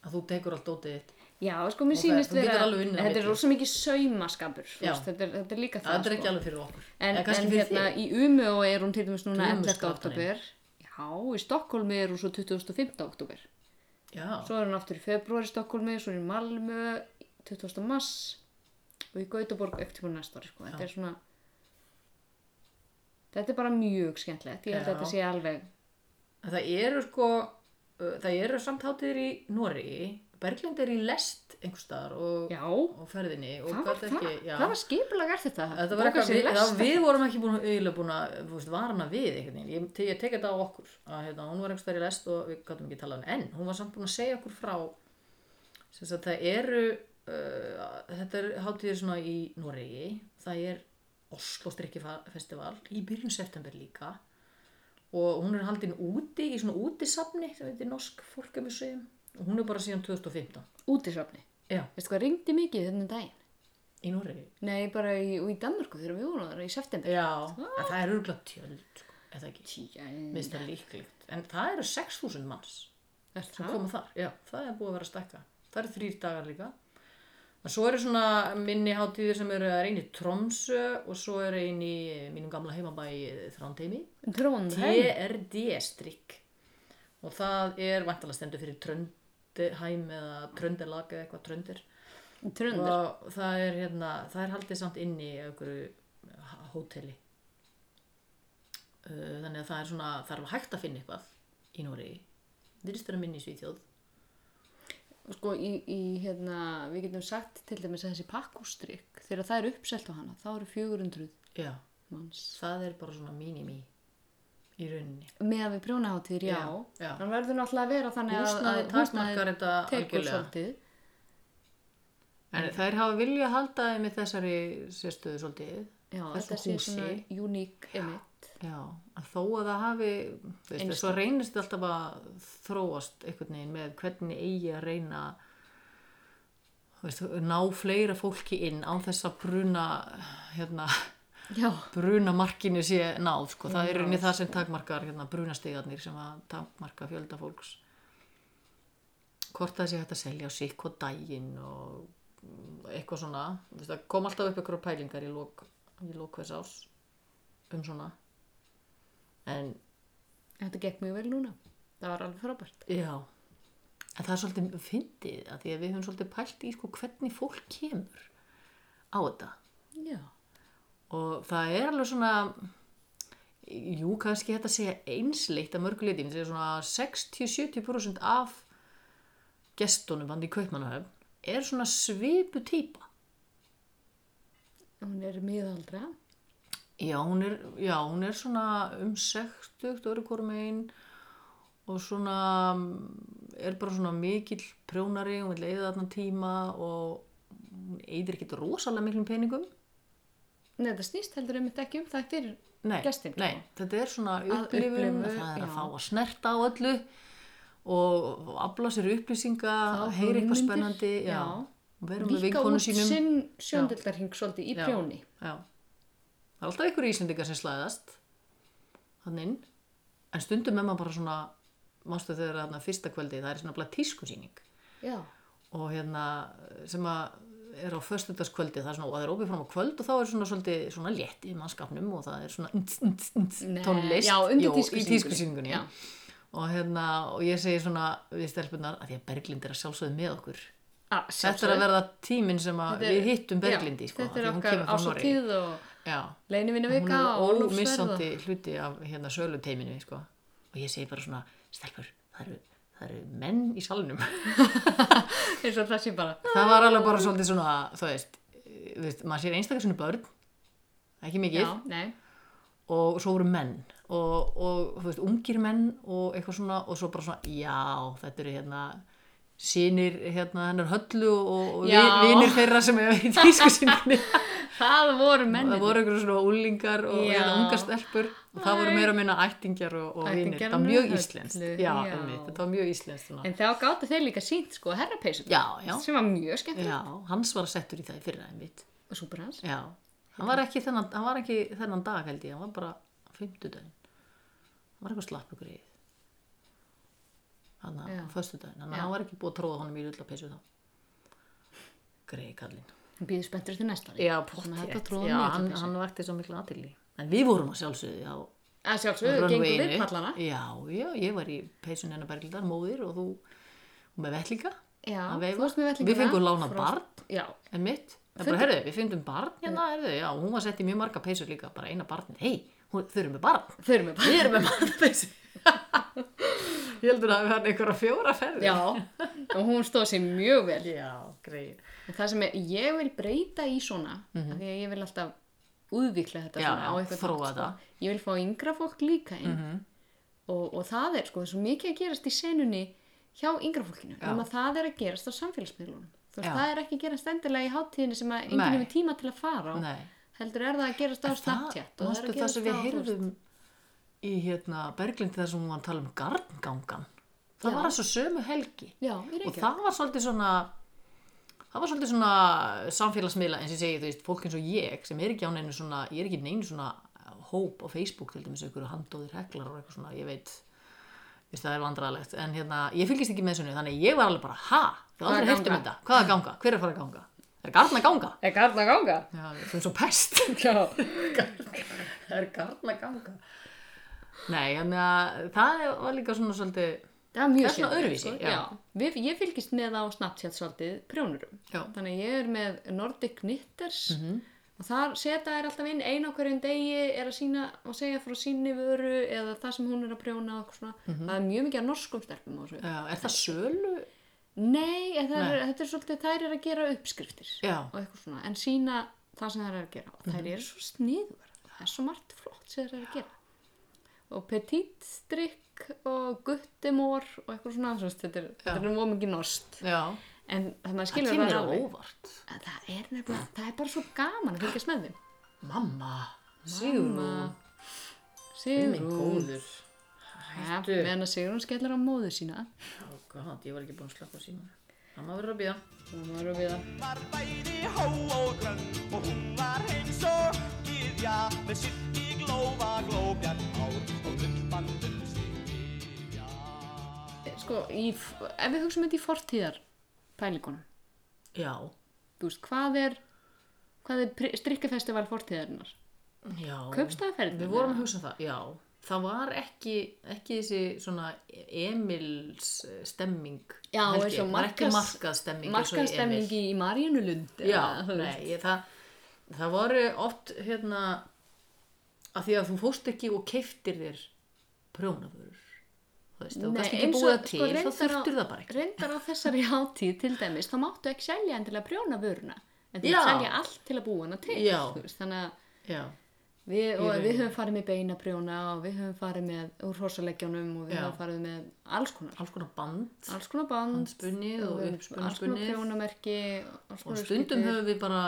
Að þú tekur allt dótið þitt Já, sko, mér Og það- sýnist þú getur vera, alveg unnið á þetta er milli. rosa mikið saumaskapur, þú Já. veist, þetta, er- þetta er líka það, Það er ekki sko. alveg fyrir okkur En, Eða kannski en fyrir hérna, í Umeå er hún til dæmis núna 11. Krummuskrapanin. oktober, já, í Stokkólmi er hún svo 25. oktober, þig Já, svo er hún aftur í februar í Stokkólmi, svo er hún í Malmö 20. mars og í Gautaborg eftir hún næsta ári, sko, þetta er svona, þetta er bara mjög skemmtilegt, ég held Já. að þetta sé alveg, en það eru sko uh, Það eru samt hátíðir í Noregi Berglind er í lest einhvers staðar og, já, og ferðinni og hvað var gat það, ekki- já. hvað var skipulag er þetta? Þetta var Bóka eitthvað, sér við, lest. það, við vorum ekki búin, eiginlega búin að þú veist, varna við einhvern veginn, ég, te- ég tek þetta á okkur að hérna, hún var einhvers þar í lest og við gáttum ekki talað um en hún var samt búin að segja okkur frá sem sagt það eru uh, þetta er hátíðir svona í Noregi, það er Oslo strikkifestival í byrjun september líka og hún er haldin úti í svona útisafni sem heitir Norsk Fólkamuseum og hún er bara síðan 2015 Útisafni. Já, Veistu hvað ringdi mikið þennan daginn? í Noregi Nei, bara í, og í Danmarku þegar við vorum þar í september. Já, en það er örgulega tjöld sko, eða ekki Tíja, Mér finnst það líklegt. En það eru 6.000 manns er sem það? koma þar. Já, það er búið að vera að stekka. Það eru þrýr dagar líka. En svo eru svona minni hátíðir sem eru það er einn í Tromsö og svo er einn í mínum gamla heimabæ í Þrándheimi. Tróndheim. TRD-strikk. Og það er vantalega stendur fyrir Tröndheim eða Tröndelag eða eitthvað Tröndir. Tröndur. Og það er, hérna, það er haldið samt inni í einhverju h- hóteli. Uh, Þannig að það er svona, það er alveg hægt að finna eitthvað í Nóri. Virðist vera minni í Svíþjóð. Sko, í, í, hérna, við getum sagt til dæmis að þessi pakkústrykk, þegar það er uppselt á hana, þá eru 400 Já. manns. Það er bara svona mini-mi í rauninni. Með að við prjónaháttir, já. Já, já. Þannig verður náttúrulega að vera þannig að- Húsnæði að takmarkar húsnæðið þetta tekur algjörlega. svolítið. En þær hafa vilja að halda þeim með þessari sérstöðu svolítið. Já, þessu þetta sé húsi. svona uník emitt. Já, en þó að það hafi, þú veist, Eins- svo reynist alltaf að þróast einhvern veginn með hvernig eigi að reyna þú veist, ná fleira fólki inn án þess að bruna, hérna, Já, bruna markinu sé náð, sko. Það er reyni það sem takmarkar, hérna, brunastigarnir sem að takmarka fjölda fólks. Hvort það sé hægt að selja á sikk og daginn og mm, eitthvað svona, þú veist, það kom alltaf upp ykkur pælingar í lók, í lók hvers árs um svona. En þetta gekk mjög vel núna. Það var alveg frábært. Já, en það er svolítið fyndið að því að við höfum svolítið pælt í sko, hvernig fólk kemur á þetta Já. og það er alveg svona jú, kannski þetta segja einsleitt að mörguleitin, það er svona 60-70% af gestunum hann í kaupmannahöfn er svona svipu típa Hún er miðaldra. Já, hún er, já, hún er svona um 60 öru hvorum einn og svona mm, er bara svona mikill prjónari, hún vil eigða þarna tíma og hún eigðir ekkert rosalega miklum peningum. Nei, það snýst heldur einmitt ekki um það fyrir Nei, gestin. nei, þetta er svona upplifun, upplifu, að það er að já. fá að snerta á öllu og afla sér upplýsinga, Fá heyra hugmyndir, eitthvað spennandi, já, já. og vera með Víka vinkonu út sínum. sinn sjóndeldarhing svolítið í Já. prjóni. Já. Það er alltaf ykkur íslendingar sem slæðast þannig inn en stundum er maður bara svona mástu þegar þarna fyrsta kvöldi það er svona bara tískusýning Já. og hérna sem að er á föstudagskvöldi það er svona og það er opið fram á kvöld og þá er svona svolítið svona létt í mannskapnum og það er svona nts, nts, nts, Nei, tónlist já, undir Jú, í tískusýningunni. tískusýningunni Já. og hérna og ég segi svona við stelpunar að því að Berglind er að sjálfsögðu með okkur Ah, þetta er að verða tíminn sem að Þetta er- við hittum Berglindi já, sko, Þetta er því hún okkar kemur frá Noregi. ásatíð og Já, leinivinna hún vika er og ómissandi ólúfsverða. hluti af hérna söluteiminu sko. og ég segi bara svona stelpur, það eru, það eru menn í salnum Eins og það sé bara. það var alveg bara svolítið svona þú veist, eh, þú veist maður sér einstakar svona börn ekki mikið Já, nei. og svo voru menn og, og þú veist, ungir menn og eitthvað svona og svo bara svona, já, þetta eru hérna sínir hérna hennar höllu og, og Já. vi- vinir þeirra sem hefur í tísku sinni Það voru mennin. það voru einhverjum svona úlingar og Já. eða ungar stelpur og það voru Æ. meira að minna ættingjar og, og vinir, Ættingjar það var með mjög öllu, íslenskt já, já. einmitt, þetta var mjög íslenskt svona. En þá gáttu þeir líka sínt sko herrapeysum. já, já, Sem var mjög skemmt. já, hans var settur í það í fyrra einmitt, Og svo bara hans. já hann var ekki þennan, hann var ekki þennan dag held ég hann var bara fimmtudaginn hann var eitthvað slapp ykkur í hann að Já. föstudaginn þannig Já. að hann var ekki búið að tróða honum í rullapeysu þá greið kallinn Hann býður spenntur til næsta. já, Svona þetta pottþétt. tróðum já, við hann, þetta hann vakti svo miklu aðtili en við vorum að sjálfsögðu á Að sjálfsögðu, gengum runwayinu. við pallana. já, já, ég var í peysun hennar berglindar, móðir og þú og með vellinga Já, að þú veifa. varst með vellingana. við fengum lána Frost- barn Já, en mitt, en bara herðu, við fundum barn hérna, herðu, já, hún var sett í mjög marga peysur líka bara eina barn, hei, þau eru með barn þau eru með barn. við erum með marga peysur ég heldur að við hann einhverja fjóra ferði Já, og hún stóð sér mjög vel. já greið En það sem ég, ég vil breyta í svona, mm því að ég vil alltaf úðvikla þetta Mhm. Já, svona á já, eitthvað þróa sko. það. Mhm. Ég vil fá yngra fólk líka inn og, og það er sko svo mikið að gerast í senunni hjá yngra fólkinu. Já. að það er að gerast á samfélagsmiðlunum. Þú veist, Já. það er ekki að gerast endilega í hátíðinni sem að enginn Nei. hefur tíma til að fara á. Nei. Heldur er það að gerast á Snapchat og það er að manstu það gerast sem við á, þú veist, heyrðum í hérna Berglind þar sem hún var að tala um garngangan Já. það var þessu sömu helgi Já, í og Reykjavík. það var svolítið svona það var svolítið svona samfélagsmiðla eins og ég segi, þú veist, fólk eins og ég sem er ekki á neinu svona, ég er ekki í neinu svona hóp á Facebook til dæmis ykkur handóðir heklar og eitthvað svona, ég veit Þú veist, það er vandræðalegt, en hérna, ég fylgist ekki með þessu þannig að ég var alveg bara, ha, Hvað þú er aldrei hefði um ganga? þetta, hvað er að ganga, hver er að fara að ganga er garn að ganga, Er garn að ganga? já, þú er svo pest Já. það er garna ganga Nei, þannig að það var líka svona svolítið Það er mjög Það er svona skemmtilegt, öðruvísi, sko. já. Við, ég fylgist með á Snapchat svolítið prjónurum. Já. Mhm. Þannig að ég er með Nordic Knitters og þar seta er alltaf inn einu á hverjum degi er að sína og segja frá síni vöru eða það sem hún er að prjóna og eitthvað svona. Mhm. Það er mjög mikið af norskum stelpum á þessu. Já, er það sölu? Nei, en það er, Nei. þetta er svolítið, þær er að gera uppskriftir Já. og eitthvað svona. En sína það sem þær er að gera. Og Mhm. þær eru svo sniður. Það er svo margt flott sem þær er að gera. Og petit strikk og guttimor og eitthvað svona. Svo, þetta er, þetta er mjög mikið norst. Já, En þannig að það skilja kemur á óvart En Það er nefnilega, það er bara svo gaman að fylgjast með þeim. Mamma, Sigrún Minn Sigrún. góður Ja, meðan að Sigrún skellir á móðu sína. Oh God, ég var ekki búin að slappa síma Mamma verður að býða Þannig varum við að... var bæði há og grönn og hún var eins og gyðja með sitt í glófa glóbjarn hár og lumbandum sitt í já. Sko, í, f- ef við hugsaum þetta í fortíðar pælingunum, Já, þú veist, hvað er, hvað er pri- strikkafestival fortíðarinnar? já Kaupstaðaferðin, Við vorum eða? að hugsa um það, já það var ekki, ekki þessi svona Emils eh, stemming Já, held eins ég. og Það var ekki markas- markað stemming eins og í Emil. markaðstemming í Marjönulund Já, nei, ég, það, það voru oft hérna að því að þú fórst ekki og keiftir þér prjónaförur þú veist, þú kannski ekki búið það til þá þurftur það bara ekki sko, reyndar á þessari hátíð til dæmis þá máttu ekki selja endilega prjóna vöruna en þú Já. mátt selja allt til að búa hana til Já. þú veist, þannig að Já, Við, og rauninni. við höfum farið með beina prjóna og við höfum farið með úr hrossaleggjónum og við Já. höfum farið með alls konar alls konar band alls konar band Handspunnið og við höfum uppspunnið, alls konar spunnið. prjónamerki alls og konar stundum uppskriftir. höfum við bara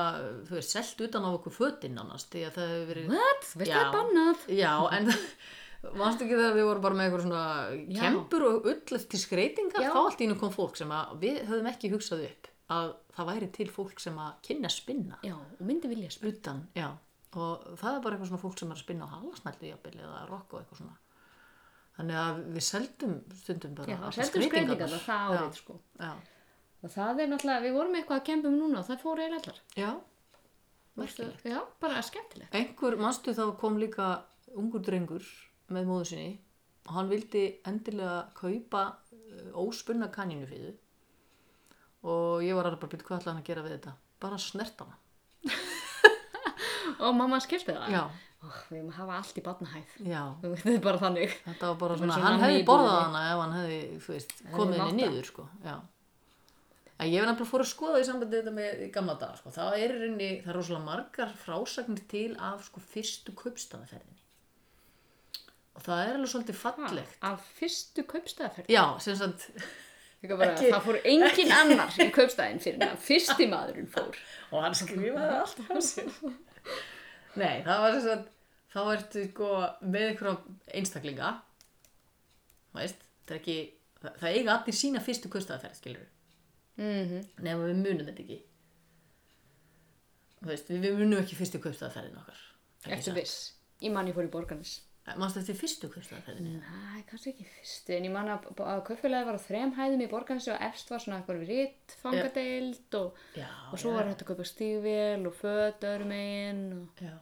þú veist, selt utan á okkur fötin annars því að það hefur verið What? Veist það Já. er bannað? Já, en Manstu ekki þegar við vorum bara með eitthvað svona Já. kempur og ull til skreitingar Já. þá allt í einu kom fólk sem að við höfum ekki hugsað upp að það væri til fólk sem að kynna að spinna Já, og myndi vilja spyrja utan, já og það er bara eitthvað svona fólk sem er að spinna á halasnældu jafnvel eða rokk og eitthvað svona þannig að við seldum stundum bara Já, allar seldum skreitingar skreytingarnar. það árið sko já, og það er náttúrulega, við vorum með eitthvað að kempa um núna og það fór eiginlega allar já, já. merkilegt Já, bara skemmtilegt einhver, manstu þá kom líka ungur drengur með móðu sinni og hann vildi endilega kaupa eh, óspunna kaninu fyrir og ég var alveg bara byrja hvað ætlaði hann að gera við þetta bara snert hana og mamma skilti það já, oh, Við erum að hafa allt í barnahæð já, það er bara þannig þetta var Þetta bara var svona svona hann hefði nýbúið. borðað hana ef hann hefði þú veist, komið mátt henni það. niður sko. já En ég hef nefnilega fór að skoða í sambandi þetta með í gamla daga, sko. Það er í rauninni, það er rosalega margar frásagnir til af sko fyrstu kaupstaðaferðinni. Og það er alveg svolítið fallegt. af fyrstu kaupstæðaferð Já, sem sagt, bara, Ekki- það fór engin annar í kaupstæðin fyrir hann fyrsti maðurinn fór og hann skrifaði allt á sér. Nei, það var sem sagt, þá ertu sko með einhverja einstaklinga, þú veist, það er ekki, það, það eiga allir sína fyrstu kustaðaferð, skilur við, mm -hmm. nema við munum þetta ekki. Þú veist, við, við munum ekki fyrstu kustaðaferðin okkar. Ertu viss? Ég man ég fór í borgarnis Mástu Eh, eftir fyrstu kustaðaferðinni? Næ, kannski ekki fyrstu en ég man að, að kaupfélagi var á þrem hæðum í borgarnis og efst var svona eitthvað ritt fangadeild og, Já, og svo já, var hægt að kaupa stígvél og föt öðrum megin og já,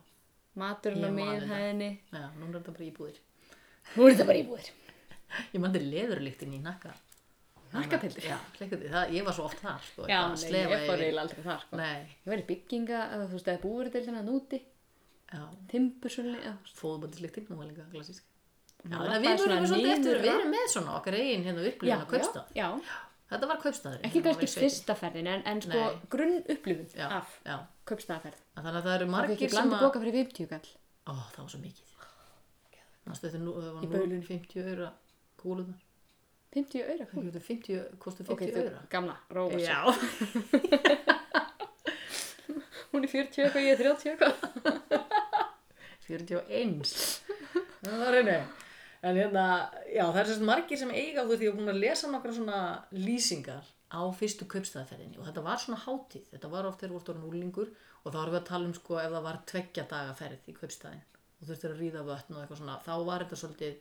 maturinn á Ég man þetta. miðhæðinni já, núna er þetta bara íbúðir. Nú er þetta bara íbúðir Ég mandi leðurlíktin í nakka. Nakkatildur? Já, hlekkaði, það, ég var svo oft þar, sko. Já, eitthvað að nei, slefa ég fór yfir. eiginlega aldrei þar sko. Nei, Ég var í bygginga, eða þú veist, eða búverðildina núti, já, timbursölu, eða þú veist. fóðbættislíktin, hún var líka klassísk. Já, Maður þannig að labbaði við vorum svona svolítið eftir, niður við erum með svona okkar eigin hérna Já, upplifin á kaupstað. já, Þetta var hérna, kaupstaður. ekki kannski fyrsta ferðin, en, en sko Nei. grunn upplifun Já, af já, kaupstæðaferð. En þannig að það eru Það margir ekki sem blanda að, boka fyrir 50 kall. ó, það var svo mikið. Næstu þetta nú, það Í var nú baulunni. 50 öra kúlunar. 50 auðra Það kall. eru 50, kostu Ok, 50 þú, öra. gamla, róa sig. Já, Hún er 40 eitthvað, ég er 30 eitthvað. 41. Það var einu. En hérna, já, það er sérst margir sem eiga þú því að búin að lesa nokkra svona lýsingar á fyrstu kaupstæðaferðinni og þetta var svona hátíð, þetta var oft þegar voru núlingur og þá erum við að tala um sko ef það var tveggja daga ferð í kaupstæðin og þurftir að ríða vötn og eitthvað svona, þá var þetta svolítið,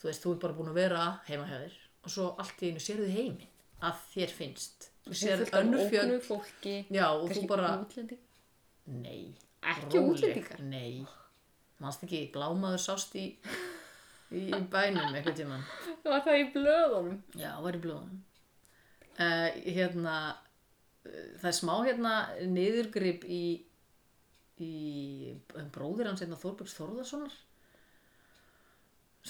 þú veist, þú er bara búin að vera heima hjá þér og svo allt í einu sérðu heiminn að þér finnst, þú sérðu önnur fjöld, Ókunnu fólki, já og kannski þú bara, útlending. Nei. Ekki róleg, útlendingar? Nei. Manst ekki, blámaður sást í, í bænum eitthvað tíman. Það var það í blöðunum. Já, var í blóðum. Uh, hérna, uh, það er smá hérna niðurgrip í, í um, bróðir hans hérna Þorbjörns Þórðarssonar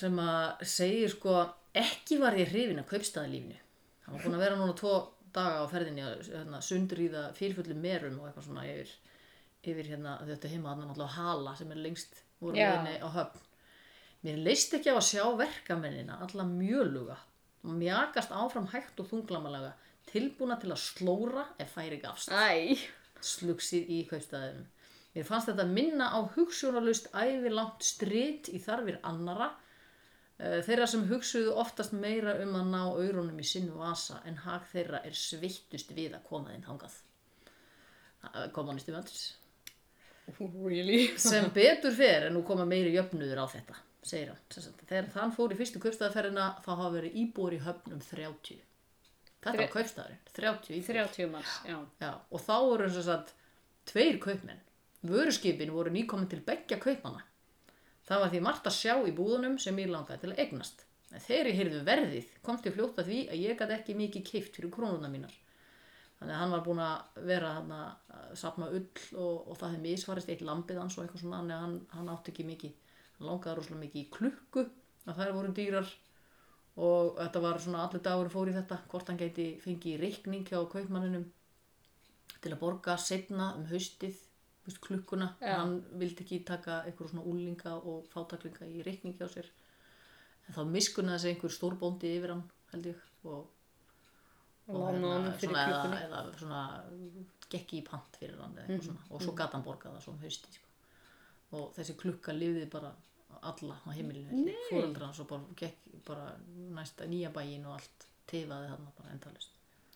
sem að segir sko ekki var ég hrifin að kaupstaðalífinu. Hann var búin að vera núna tvo daga á ferðinni að hérna, sundrýða fylfullu merum og eitthvað svona yfir, yfir hérna, þetta heima hann náttúrulega á hala sem er lengst voru Já. meðinni á höfn. Mér leist ekki á að sjá verkamennina alla mjöluga og mjakast áfram hægt og þunglamalega tilbúna til að slóra ef færi gafst Æ, slugsið í kaupstæðum. Mér fannst þetta minna á hugsunarlust ævilangt strit í þarfir annara, eh, þeirra sem hugsuðu oftast meira um að ná auðrunum í sinn vasa en hag þeirra er sveittust við að koma þinn hangað. Komunisti vöndis. really? Sem betur fer en nú koma meiri jöfnuður á þetta, segir hann. Sem sagt, Þegar hann fór í fyrstu kaupstæðaferðina þá hafa verið íbúar í höfnum 30. Þetta var Þre- kaupstæðurinn, 30 íbúar. 30 manns, já. Já, og þá voru þess að tveir kaupmenn. Vöruskipin voru nýkomin til beggja kaupmanna. Það var því margt að sjá í búðunum sem ég langaði til að eignast. En þegar ég heyrðu verðið, komst ég fljótt að því að ég gat ekki mikið keift fyrir krónuna mínar. Þannig að hann var búin að vera hann að sapna ull og, og það hefði misfarist eitt lambið hans og eitthvað svona, þannig að hann, hann átti ekki mikið, hann langaði rosalega mikið í klukku, að þær voru dýrar og þetta var svona allir dagur fór í þetta, hvort hann gæti fengið reikning hjá kaupmanninum til að borga setna um haustið, þú veist, klukkuna, Já. en hann vildi ekki taka einhverjum svona úlinga og fátaklinga í reikning hjá sér. En þá miskunnaði sig einhver stórbóndi yfir hann, held ég, og og lána hann hérna, fyrir svona, eða, klukkunni eða svona gekk í pant fyrir hann eða Mhm, eitthvað svona og svo gat hann borgað það svona hausti sko. og þessi klukka lifði bara alla á heimilinu fóröldra hans og bara gekk bara næsta nýja bæin og allt tifaði þarna bara endalist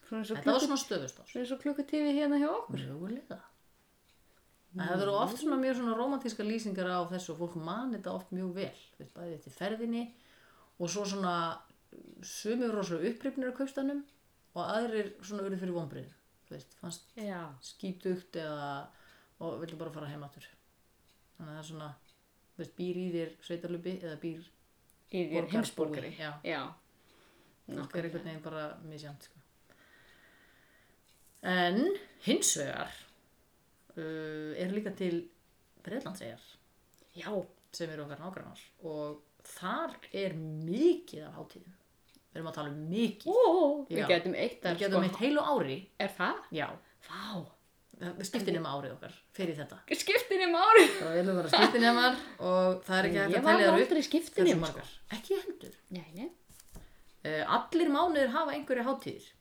svona eins og þetta var klukku- svona sko. stöðust ás svona eins og klukkutífi hérna hjá okkur mögulega En það eru oft svona mjög svona romantíska lýsingar á þessu og fólk man þetta oft mjög vel, við bæðið til ferðinni og svo svona uh, sumir voru rosalega upprýfnir á kaupstannum og aðrir svona urðu fyrir vonbriðin, þú veist, fannst já, skítugt eða og villu bara fara heim aftur. Þannig að það er svona, þú veist, býr í þér sveitarlubi eða býr, í þér Borgarbúi, heimsborgari já. já. það er einhvern veginn bara misjant, sko. En hins vegar uh, er líka til Breitlandseyjar já, sem eru okkar nágrannar og þar er mikið af hátíðum við erum að tala um mikið ó, við Já. getum eitt þar, við getum sko. eitt heilu ári er það? já, vá, við skiptinum árið okkar fyrir þetta skiptin um ári það er viljum vera skiptinumar og það er ekki hægt ég að var telja þar upp aldrei það skiptin eru um svo margar ekki heldur nei, nei, uh, allir mánuðir hafa einhverju hátíðir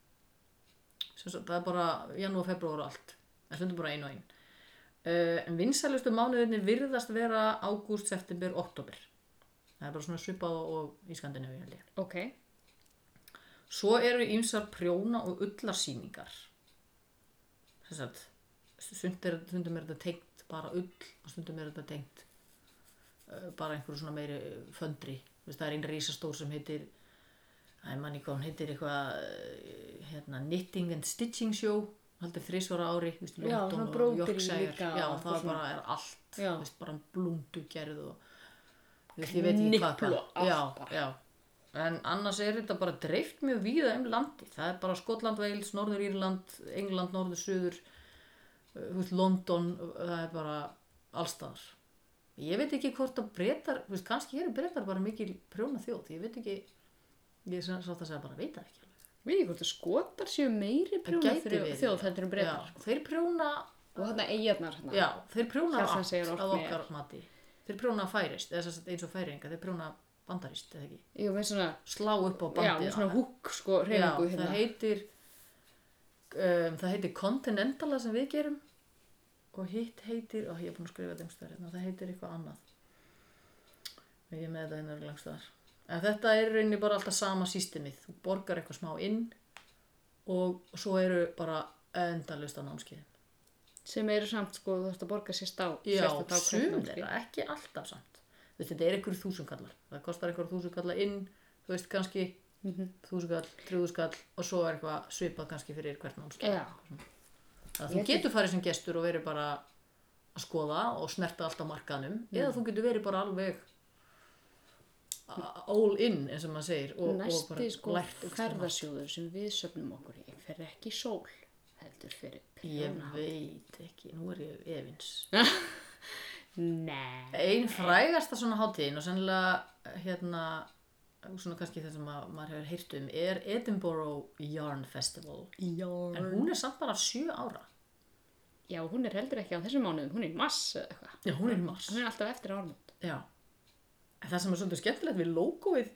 Sem sagt, það er bara janúar, februar og allt það stundur bara einu og ein uh, en vinsælustu mánuðirnir virðast vera ágúst, september, oktober það er bara svona svipað og í Skandinavíu held ég ok Svo eru ýmsar prjóna og ullarsýningar. Þess að stundum er, stundum er þetta tengt bara ull og stundum er þetta tengt uh, bara einhverju svona meiri eh, föndri. Þú veist, það er einn rísastór sem heitir, æ manni hvað hún heitir eitthvað, eh, hérna, Knitting and Stitching Show, haldið þrísvara ári, þú veist, Já, London svona og brókeri Yorkshire. líka Já, og það er svona. bara er allt, Já. þú veist, bara blúndu gerð og Þú veist, ég veit ekki hvað Kniplu, allt hvað já, já. en annars er þetta bara dreift mjög víða um landi það er bara Skotland, Wales, Norður Írland England, Norður, Suður uh, þú veist, London uh, það er bara allstaðar ég veit ekki hvort að breytar veist, kannski eru breytar bara mikil prjóna þjóð ég veit ekki ég sá það að segja bara veit það ekki alveg. Við ekki hvort að skotar séu meiri Það prjóna gæti fyrir verið. þjóð heldur en breytar. já, þeir prjóna, Og þarna eigarnar hérna. já, þeir prjóna Kjartan segir allt oft að mér. okkar mati þeir prjóna færist eða sem sagt eins og færinga, þeir prjóna bandarist eða ekki Jú, með svona, slá upp á bandið já, með svona aðeins. húk, sko, reyningu Já, hérna. það heitir um, það heitir Continentala sem við gerum og hitt heitir og ég er búin að skrifa þetta einhverstaðar hérna, það heitir eitthvað annað og ég er með þetta hérna langstaðar en þetta er í rauninni bara alltaf sama systemið þú borgar eitthvað smá inn og svo eru bara endalust á námskeið Sem eru samt, sko, þú þarfst að borga sér stá. já, sérstakt á hvern sum námskeið. þeirra, ekki alltaf samt Þú veist, þetta er einhverjum þúsundkallar það kostar einhverjum þúsundkallar inn þú veist kannski Mhm. þúsundkall, þrjúðuskall og svo er eitthvað svipað kannski fyrir hvert námskeið Já, að þú Eh, Ég getur farið sem gestur og verið bara að skoða og snerta allt á markanum eða Mhm. þú getur verið bara alveg a- all in eins og maður segir og, og bara næsti, sko, lært ógeðslega margt. ferðasjóður sem við söfnum okkur í fer ekki í sól, heldur fyrir ég prjóna. veit ekki, nú er ég efins Nei. ein frægasta svona hátíðin og sennilega hérna svona kannski það sem að, maður hefur heyrt um er Edinburgh Yarn Festival en Jórn. hún er samt bara sjö ára Já, hún er heldur ekki á þessum mánuðum, hún er í mass eða eitthvað. já, hún er í mars Hún er alltaf eftir ármót. Já. En það sem er svolítið skemmtilegt við logoið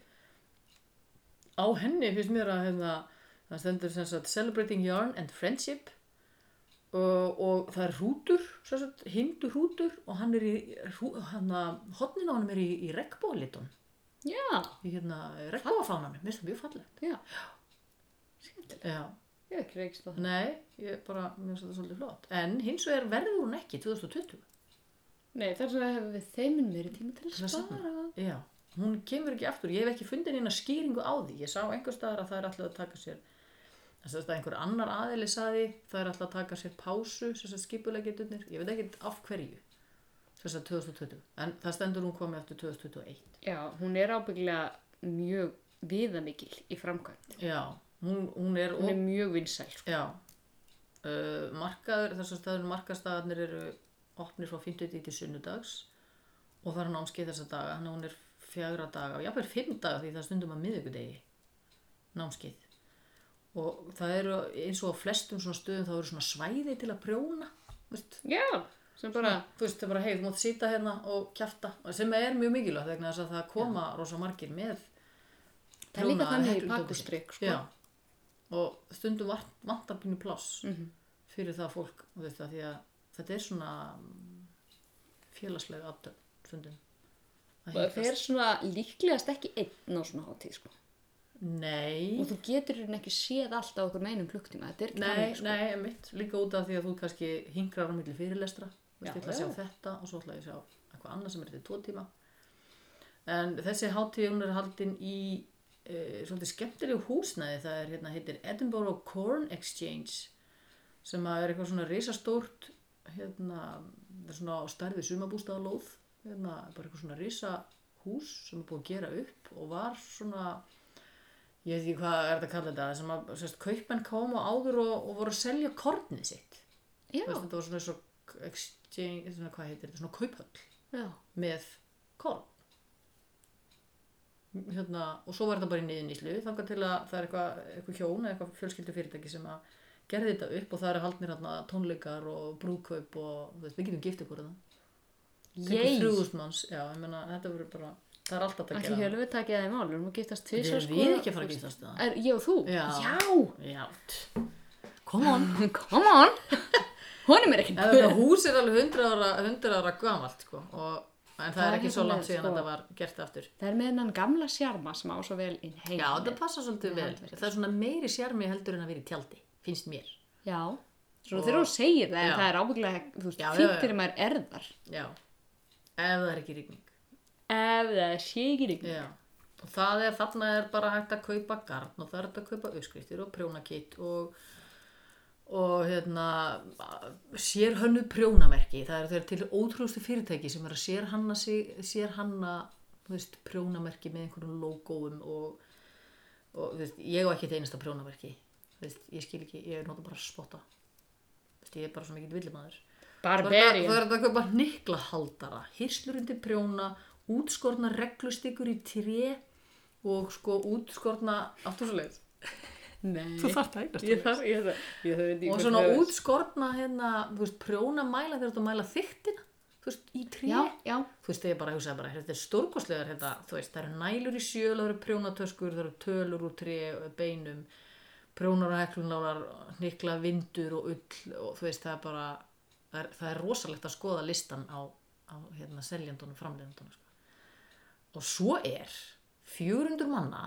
á henni finnst mér að hérna, það stendur sem sagt Celebrating Yarn and Friendship og, og það er hrútur, sem sagt, hindu hrútur og hann er í, hrú, hann að, hodnin á hann er í, í regnbóðlitun, Já, í hérna regnbóðfánanum, mér finnst það mjög fallegt. já. Skemmtileg. Já, Ég hef ekki reykst á það. nei, ég bara, mér finnst það svolítið flott. En hins vegar verður hún ekki 2020. Nei, þar sem hefur við þeimin meiri tíma til Til að að safna. spara. Já, hún kemur ekki aftur. Ég hef ekki fundið neina skýringu á því. Ég sá einhver staðar að það er alltaf að taka sér þess að einhver annar aðili saði það er alltaf að taka sér pásu sem sagt skipulegjendunir. Ég veit ekki af hverju. Sem þess að 2020 en það stendur hún komið eftir 2021 Já, hún er ábyggilega mjög viðamikil í framkvæmt. já, hún, hún er, Hún og, er mjög vinsæl. sko. já uh, markaður, þessar staður markastaðarnir eru opnir frá 50 til sunnudags og það er námskeið þessa daga þannig að hún er fjagra daga og jafnvel fimm daga því það er stundum að miðvikudegi námskeið og það eru eins og á flestum svona stöðum þá eru svona svæði til að prjóna veist Já, sem bara, þú veist, það er bara, hei, þú mátt sýta hérna og kjafta, sem er mjög mikilvægt vegna þess að það koma rosa margir með það er líka prjónaða þannig í helludótið. pakkustrik, sko. Já, og stundum vart- vantar pínu pláss Mhm. fyrir það fólk, þú veist það, því að þetta er svona mm, félagslega aftöfn, stundum Að Og það er hittast. svona líklegast ekki einn á svona hátíð, sko. Nei, Og þú getur hérna ekki séð allt á okkur neinum klukktíma. Þetta er ekki nei, þannig, sko. nei, mitt, líka út af því að þú kannski hingrar á milli fyrirlestra þú Já, veist, ég ætla já. að sjá þetta og svo ætla ég að sjá eitthvað annað sem er til tvo tíma en þessi hátíð hún er haldin í uh, svolítið skemmtilegu húsnæði það er hérna heitir Edinburgh Corn Exchange sem að er eitthvað svona risastórt hérna, það er svona á stærði sumabústaðalóð hérna, bara eitthvað svona risahús sem er búið að gera upp og var svona ég veit ekki hvað er þetta að kalla þetta sem að sérst, kaupmenn komu áður og, og voru að selja kornið sitt Já, Þú veist, þetta var svona eins og exchange, svona, hvað heitir þetta, svona kauphöll já. með korn hérna, og svo var þetta bara í niðuníslu þangar til að það er eitthvað, eitthvað hjón eða eitthvað fjölskyldu fyrirtæki sem að gerði þetta upp og það eru haldnir hérna, tónleikar og brúðkaup og þú veist, við getum gift ykkur það Ég, þrjúðust manns, já, ég meina þetta voru bara, það er alltaf að allir gera höfum við takið það í mál, við erum að giftast Við tvisar, erum við ekki að fara að giftast það Er ég og þú? Já. Já. Já, come on Come on! Honum er ekki En þetta hús er alveg 100 ára, 100 ára gamalt sko og En það Það er er ekki svo hérna langt með, síðan sko. að þetta var gert aftur. Það er með hennan gamla sjarma sem á svo vel inn heim. Já, þetta passa svolítið vel. handverkið. Það er svona meiri sjarmi heldur en að vera í tjaldi, finnst mér. Já. Svo þegar hún segir það, en Já. það er ábygglega, þú veist, Já, já, fínt já. fyrir maður erðar. Já. Ef það er ekki rigning. Ef það sé ekki ykkur. Já. Og það er, þarna er bara hægt að kaupa garn og það er hægt að kaupa uppskriftir og prjónakitt og og hérna sérhönnu prjónamerki það eru þeir til ótrúðustu fyrirtæki sem er að sérhanna sig, sérhanna þú veist, prjónamerki með einhverjum logoum og, og þú veist, ég á ekki þetta einasta prjónamerki Þú veist, ég skil ekki, ég nota bara spotta Þú veist, ég er bara svo mikill villimaður Barbarian. Það er þetta eitthvað nikla haldara, hirslurundi prjóna, útskorna reglustikur í tré og sko útskorna, aftur svo leið. Nei. þarf það Ég þarf, ég þarf, ég þarf ekki Og svona útskorna hérna, þú veist, prjónamæla þegar þú ert að mæla þyktina, þú veist, í tré. Já, já. Þú veist, ég bara hugsaði bara, þetta er stórkostlegar, hérna, þú veist, það eru nælur í sjöl, það eru prjónatöskur, það eru tölur úr tré, beinum, prjónar og heklunálar, nikla vindur og ull og þú veist, það er bara, það er, það er rosalegt að skoða listan á, á hérna, seljendunum, framlendunum, sko. Og svo er 400 manna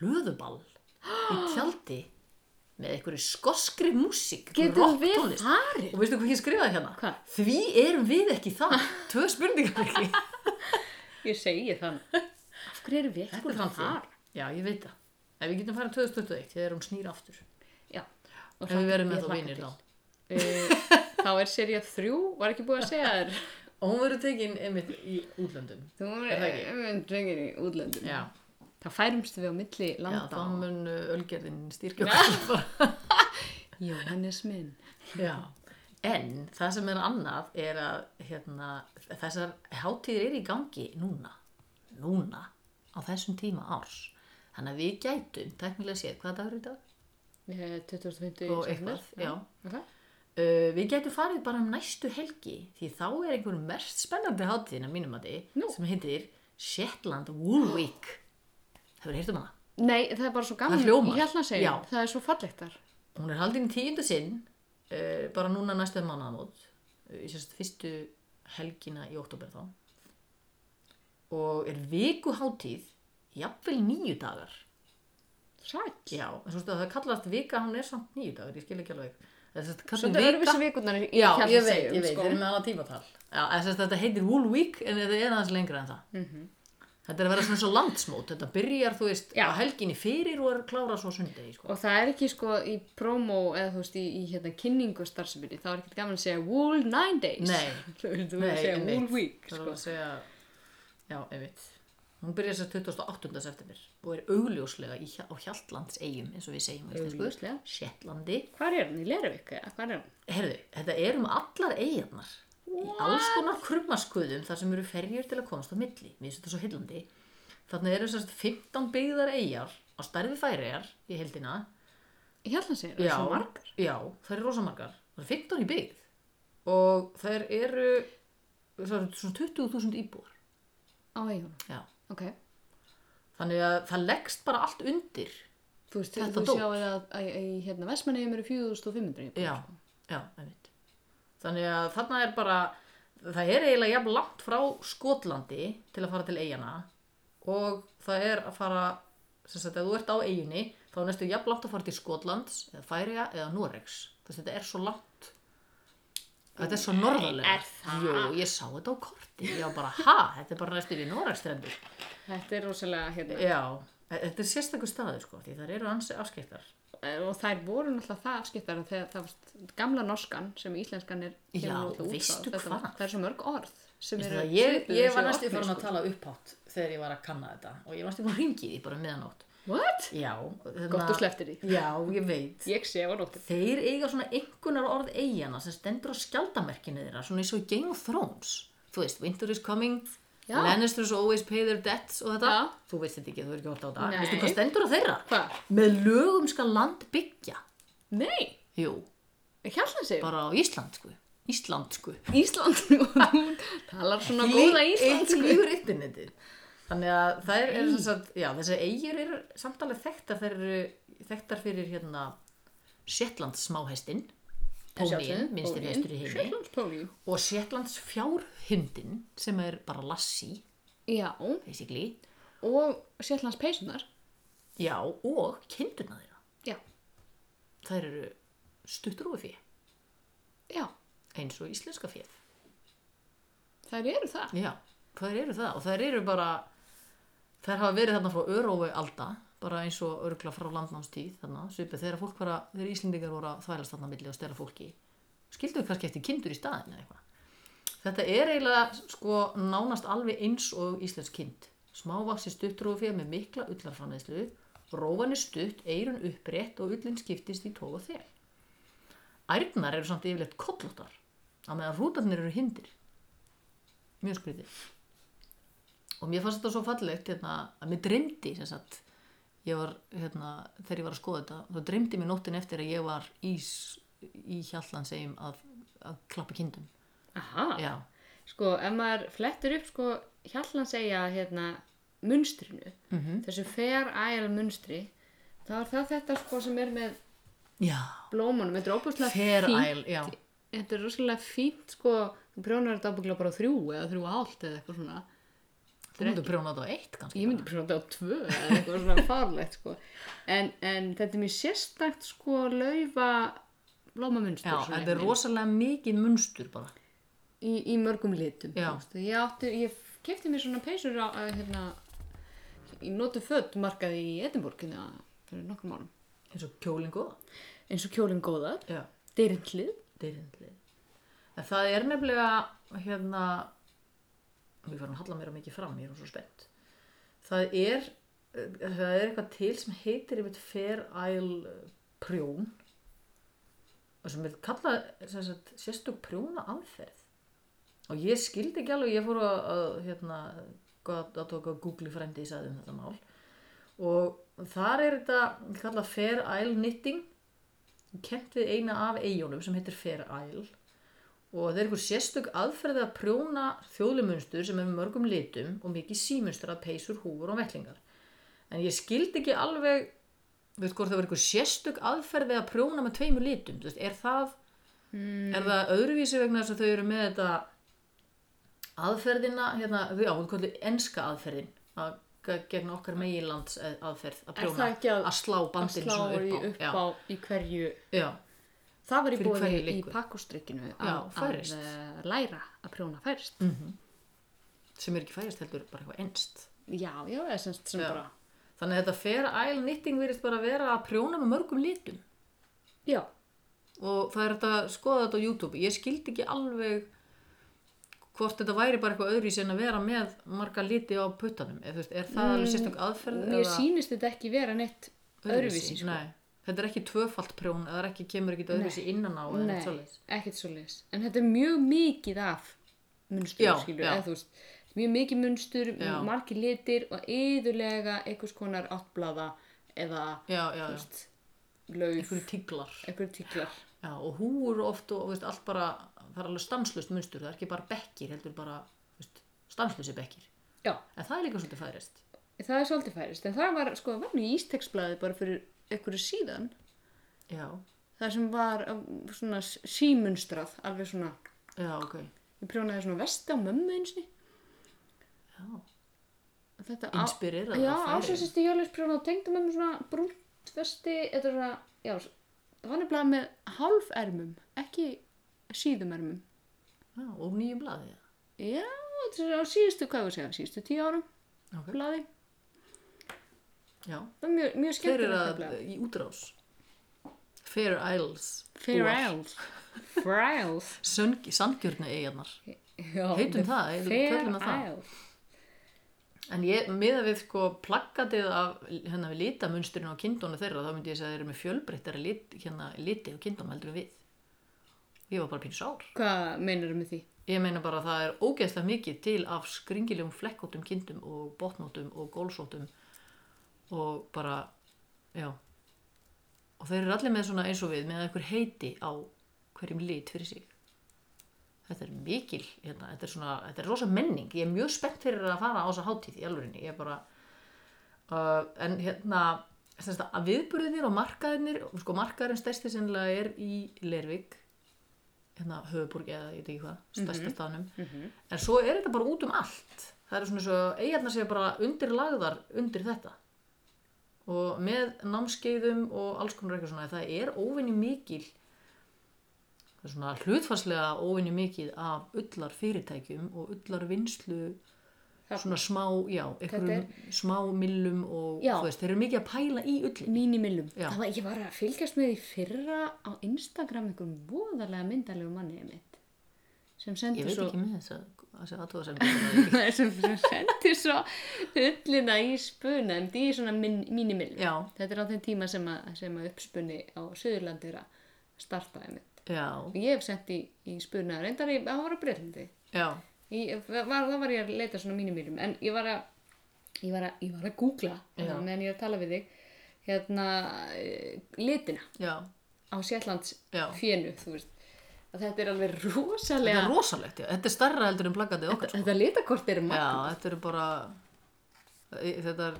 hlöðuball í tjaldi með einhverju skoskri músík, Getum við rocktónlist. farið? Og veistu hvað ég skrifaði hérna? Hvað? Því erum við ekki það. Tvö spurningar ekki. Ég segi þannig. Af hverju erum við sko ekki Þetta er búin að framtíð. fara? Já, ég veit það. Ef við getum farið 2021, þegar hún snýr aftur. Já. Og Ef við hlakka- ég verðum með þá hlakka vinir til. þá. Eh, Þá er serið þrjú, var ekki búið að segja þér. Og hún verður tekin einmitt í útlöndum. Þú eh, Er það ekki? erum drengir í útlöndum. Já. Það færumst við á milli Já, landa. þá mun uh, ölgerðin styrkja okkur. Jóhannes minn. Já. En það sem er annað er að hérna, þessar hátíðir eru í gangi núna. Núna. Á þessum tíma árs. Þannig að við gætum, teknilega séð, hvað dagur er í dag? Eh, 25. Og september. eitthvað, já. Ok. Uh, við getum farið bara um næstu helgi því þá er einhver mest spennandi hátíðin að mínum að Nú. sem heitir Shetland Wool Week Hefur heyrt um hana? Nei, það er bara svo gaman. Það hljómar. Ég held að segja, Já. það er svo fallegt þar. Hún er haldin í tíundu sinn uh, bara núna næstu mannamót í sérst fyrstu helgina í oktober þá og er viku hátíð jafnvel níu dagar Sætt. Já, en svo stu að það kallast vika hún er samt níu dagar, ég skil ekki alveg Það er sérst kallast Svona vika- öðruvísi vikurnar í Já, hjartla ég veit, segjum, ég veit, sko. Mhm. við erum með annað tímatal Já, þess að þetta heitir Wool Week en þetta er aðeins lengra en það Þetta er að vera svona svo landsmót, þetta byrjar, þú veist, Já. á helginni fyrir og er klára svo sundegi, sko. Og það er ekki sko í promo eða þú veist í, í hérna kynningu starfseminni, þá er ekki gaman að segja Wool 9 Days. Nei. þú veist, þú verður að segja Wool Week, Það er sko. að segja, já, einmitt. Hún byrjar sér 28. september og er augljóslega í, Hja- á Hjaltlands eigum, eins og við segjum, á íslensku. Augljóslega. Shettlandi. Hvar er hann? Í Lervik, eða? Hvar er hann? Herðu, þetta er um allar eigarnar. Í alls konar krummaskuðum þar sem eru ferjur til að komast á milli. Mér finnst þetta svo hillandi. Þannig eru sérst 15 byggðar eigar á stærði færiðar í heldina. Ég held að segja það, svo margar. Já, það eru rosa margar. Það eru 15 í byggð. Og þær eru, það eru svona 20.000 íbúar. Á eigunum, Já. ok. Þannig að það leggst bara allt undir. Þú veist, Þetta þú dót. sjáu að, að, að í hérna Vestmannegjum eru 4500 íbúar, Já, sko. já, einmitt. Þannig að þarna er bara, það er eiginlega jafn langt frá Skotlandi til að fara til eigana og það er að fara, sem sagt, ef þú ert á eiginni, þá er næstu jafn langt að fara til Skotlands eða Færiða eða Noregs. Þess að þetta er svo langt. Þetta er svo norðarlega. er það? Jú, ég sá þetta á korti. Já, bara, ha, þetta er bara næstu við Noregstrendur. Þetta er rosalega, hérna, Já, e- þetta er sérstakur staður, sko, því það eru ansi afskiptar. og þær voru náttúrulega það afskiptar að þegar það var gamla norskan sem í íslenskan er kemur Já, náttúrulega út frá. veistu Þetta var- hvað? Það er svo mörg orð sem Veistu eru það, ég, svipuð ég eins og var í næstu orðinu, fyrir að sko. tala upphátt þegar ég var að kanna þetta og ég var næstu fyrir að ringi því bara um miðanótt What? já, hérna- Gott þú slepptir því. já, ég veit Ég sé á nóttin. þeir eiga svona einhvernar orð eigana sem stendur á skjaldamerkinu þeirra svona eins og í Game of Thrones þú veist, Winter is coming Já. Lannisters always pay their debts og þetta Já. þú veist þetta ekki, þú er ekki hort á þetta Nei. veistu hvað stendur á þeirra? Hvað? með lögum skal land byggja Nei, jú, Hjallan segir bara á sko. íslandsku íslandsku Ísland og hún talar svona Lí- góða Ísland eitt lífur internetið þannig að þær eru sem sagt, já, þessi eigir eru samtalið þekktar þær eru þekktar fyrir hérna Shetlands smáhestin Pónín, minnstir hestur í heimi Sjöflandspóni og Shetlands fjárhundin sem er bara lassi Já, basically, og Sjöflands peysunar já, og kindurna þeirra, Já, þær eru stuttrúi fyrir, já, eins og íslenska fyrir þær eru það Já, þær eru það og þær eru bara þær hafa verið þarna frá örófi alda bara eins og örgla frá landnámstíð þarna, svipið þegar fólk var að, þegar Íslendingar voru að þvælast þarna á milli og stela fólki skildu við kannski eftir kindur í staðin eða eitthvað þetta er eiginlega sko nánast alveg eins og íslensk kind smávaksi stuttrúfi með mikla ullarframleðslu rófan er stutt, eirun upprétt og ullin skiptist í tóð og þel ærnar eru samt yfirleitt kollóttar á meðan rútarnir eru hindir mjög skrítið og mér fannst þetta svo fallegt hérna, að mér dreymdi sem sagt ég var, hérna, þegar ég var að skoða þetta þá dreymdi mér nóttin eftir að ég var í, s- í hjallan segjum að, að klappa kindum Aha, já, sko, ef maður flettir upp sko, Hjallan segja hérna munstrinu, -hmm. þessu fair isle munstri, þá er það þetta sko sem er með já, blómunum þetta er óbúslega fair fínt isle já, þetta er rosalega fínt sko þú prjónar þetta ábyggilega bara á þrjú eða þrjú og hálft eða eitthvað svona þú myndir prjóna þetta á eitt kannski ég myndi prjóna þetta á tvö eða eitthvað svona farlegt sko en, en þetta er mjög sérstakt sko laufa blómamunstur já, svona þetta er einhvern rosalega mikið munstur bara veginn, í, í mörgum litum Já. þú veist. ég, átti, ég kefti mér svona peysur á, að, hérna, í notu född markaði í Edinborginu fyrir nokkrum árum eins og kjólinn góða eins og kjólinn góðar, já, dyrindlið dyrindlið en það er nefnilega hérna við farum að halla mér að mikið fram, ég er svo spennt það er það er eitthvað til sem heitir einmitt Fair Isle prjón og sem er kallað sem sagt, sérstök prjóna aðferð og ég skildi ekki alveg ég fór að, að hérna gott- að tóka að Google frændi í sagði um þetta mál og þar er þetta kallað Fair Isle knitting kent við eina af eigunum sem heitir Fair Isle og það er einhver sérstök aðferði að prjóna þjóðlumunstur sem er með mörgum litum og mikið símunstur að peysur, húfur og vellingar. En ég skildi ekki alveg, þú veist hvort það var einhver sérstök aðferði að prjóna með tveimur litum, þú veist, er það, Hmm. er það öðruvísi vegna þess að þau eru með þetta aðferðina, hérna, já, hún kallir enska aðferðin, að gegn okkar meginlands eh, aðferð að Er það prjóna, ekki að- slá bandin slá svona í upp á, upp á í hverju já, já. Það var í Fyrir bóði hverju í liggur? pakkustrykkinu Já, að, að færist. eh, læra að prjóna færist. Mm. sem er ekki fæðist heldur bara eitthvað ennst já, já, eða sem, sem Já. bara Þannig að þetta fair isle knitting virðist bara að vera að prjóna með mörgum litum já, og það er þetta að skoða þetta á YouTube. Ég skildi ekki alveg hvort þetta væri bara eitthvað öðru í en að vera með marga liti á puttanum. Eð, veist, er það alveg sérstök aðferð? mér sýnist þetta ekki vera neitt Mm, öðruvísi sko. Nei, þetta er ekki tvöfalt prjón eða er ekki, kemur ekki öðruvísi innan á eða Nei, neitt svoleiðis. ekkert svo leis en þetta er mjög mikið af munstur, Já, skilur, já. eða þú veist mjög mikið munstur, Já. margir litir og yðurlega einhvers konar áttblaða eða Já, þú já, já. veist, lauf, Einhverju tíklar. einhver tíklar Já, og húur oft og veist, allt bara, það er alveg stanslust munstur, það er ekki bara bekkir, heldur bara veist, stanslusi bekkir. já, En það er líka svolítið færist. það er svolítið færist en það var, sko, það var nú í ísteksblaði bara fyrir einhverju síðan Já, það sem var um, svona s- símunstrað alveg svona, já, ok. ég prjónaði svona vesti á mömmu einsni Já. þetta á- Inspirerað já, af Færeyjum. ásæðsist í Hjólis prjónaði og tengda mömmu svona brúnt vesti þetta er svona, já, s- það var nefnilega með hálfermum, ekki síðumermum Já, og nýju blaði. já, þetta er á síðustu, hvað var að segja síðustu tíu árum, Ok. blaði Já, það var mjög, mjög þeir eru skemmtilegt að, nefnilega. í útrás. Fair Isles. Frjáls Frjáls Sangjörnu eigarnar. Heitum það, heitum- köllum það það. Isles En ég, miða við sko plakatið af hérna við litamunsturinn á kindónu þeirra, þá myndi ég segja að þeir eru með fjölbreyttari lit, hérna, liti á kindónu heldur en við. Og ég var bara pínu sár. Hvað meinar með því? Ég meina bara að það er ógeðslega mikið til af skringilegum flekkóttum kindum og botnóttum og gólsóttum og bara, já. Og þeir eru allir með svona eins og við með einhver heiti á hverjum lit fyrir sig. Þetta er mikil, hérna, þetta er svona, þetta er rosa menning. Ég er mjög spennt fyrir að fara á þessa hátíð í alvörinni. Ég er bara, uh, en hérna, þess að viðburðinir og markaðinir, sko markaðurinn stærsti sinnilega er í Lervik, hérna höfuborg eða ég veit ekki hvað, stærsta staðnum. En svo er þetta bara út um allt. Það eru svona svo, eigarnar séu bara undirlagðar undir þetta. Og með námskeiðum og alls konar eitthvað svona, það er óvinni mikil það er svona hlutfarslega óvinni mikið af ullar fyrirtækjum og ullar vinslu Þarna. svona smá, já, einhverjum er- smá millum og Já. þú veist, þeir eru mikið að pæla í ullin Mínimillum. Já. Það var, ég var að fylgjast með því fyrra á Instagram einhverjum voðalega myndalegu manni mitt sem ég sendi veit svo ekki með þess að þessi aðtóðasemd sem, sem sendi svo ullina í spuna en því er svona min, mínimillum. já, Þetta er á þeim tíma sem að, sem að uppspunni á Suðurlandi er að starta einmitt. já, Og Ég hef sent í, í spuna reyndar í, það var á Breitlandi. já Ég, var, þá var ég að leita svona mínum mínum en ég var að, ég var að, ég var að googla Já. meðan ég er að tala við þig hérna eh, litina já, á Sjallands Já. fjönu þú veist að þetta er alveg þetta rosalega er rosalegt já. þetta er starra heldur en plakatið okkar sko. þetta litakort er já, magna þetta eru bara þetta er,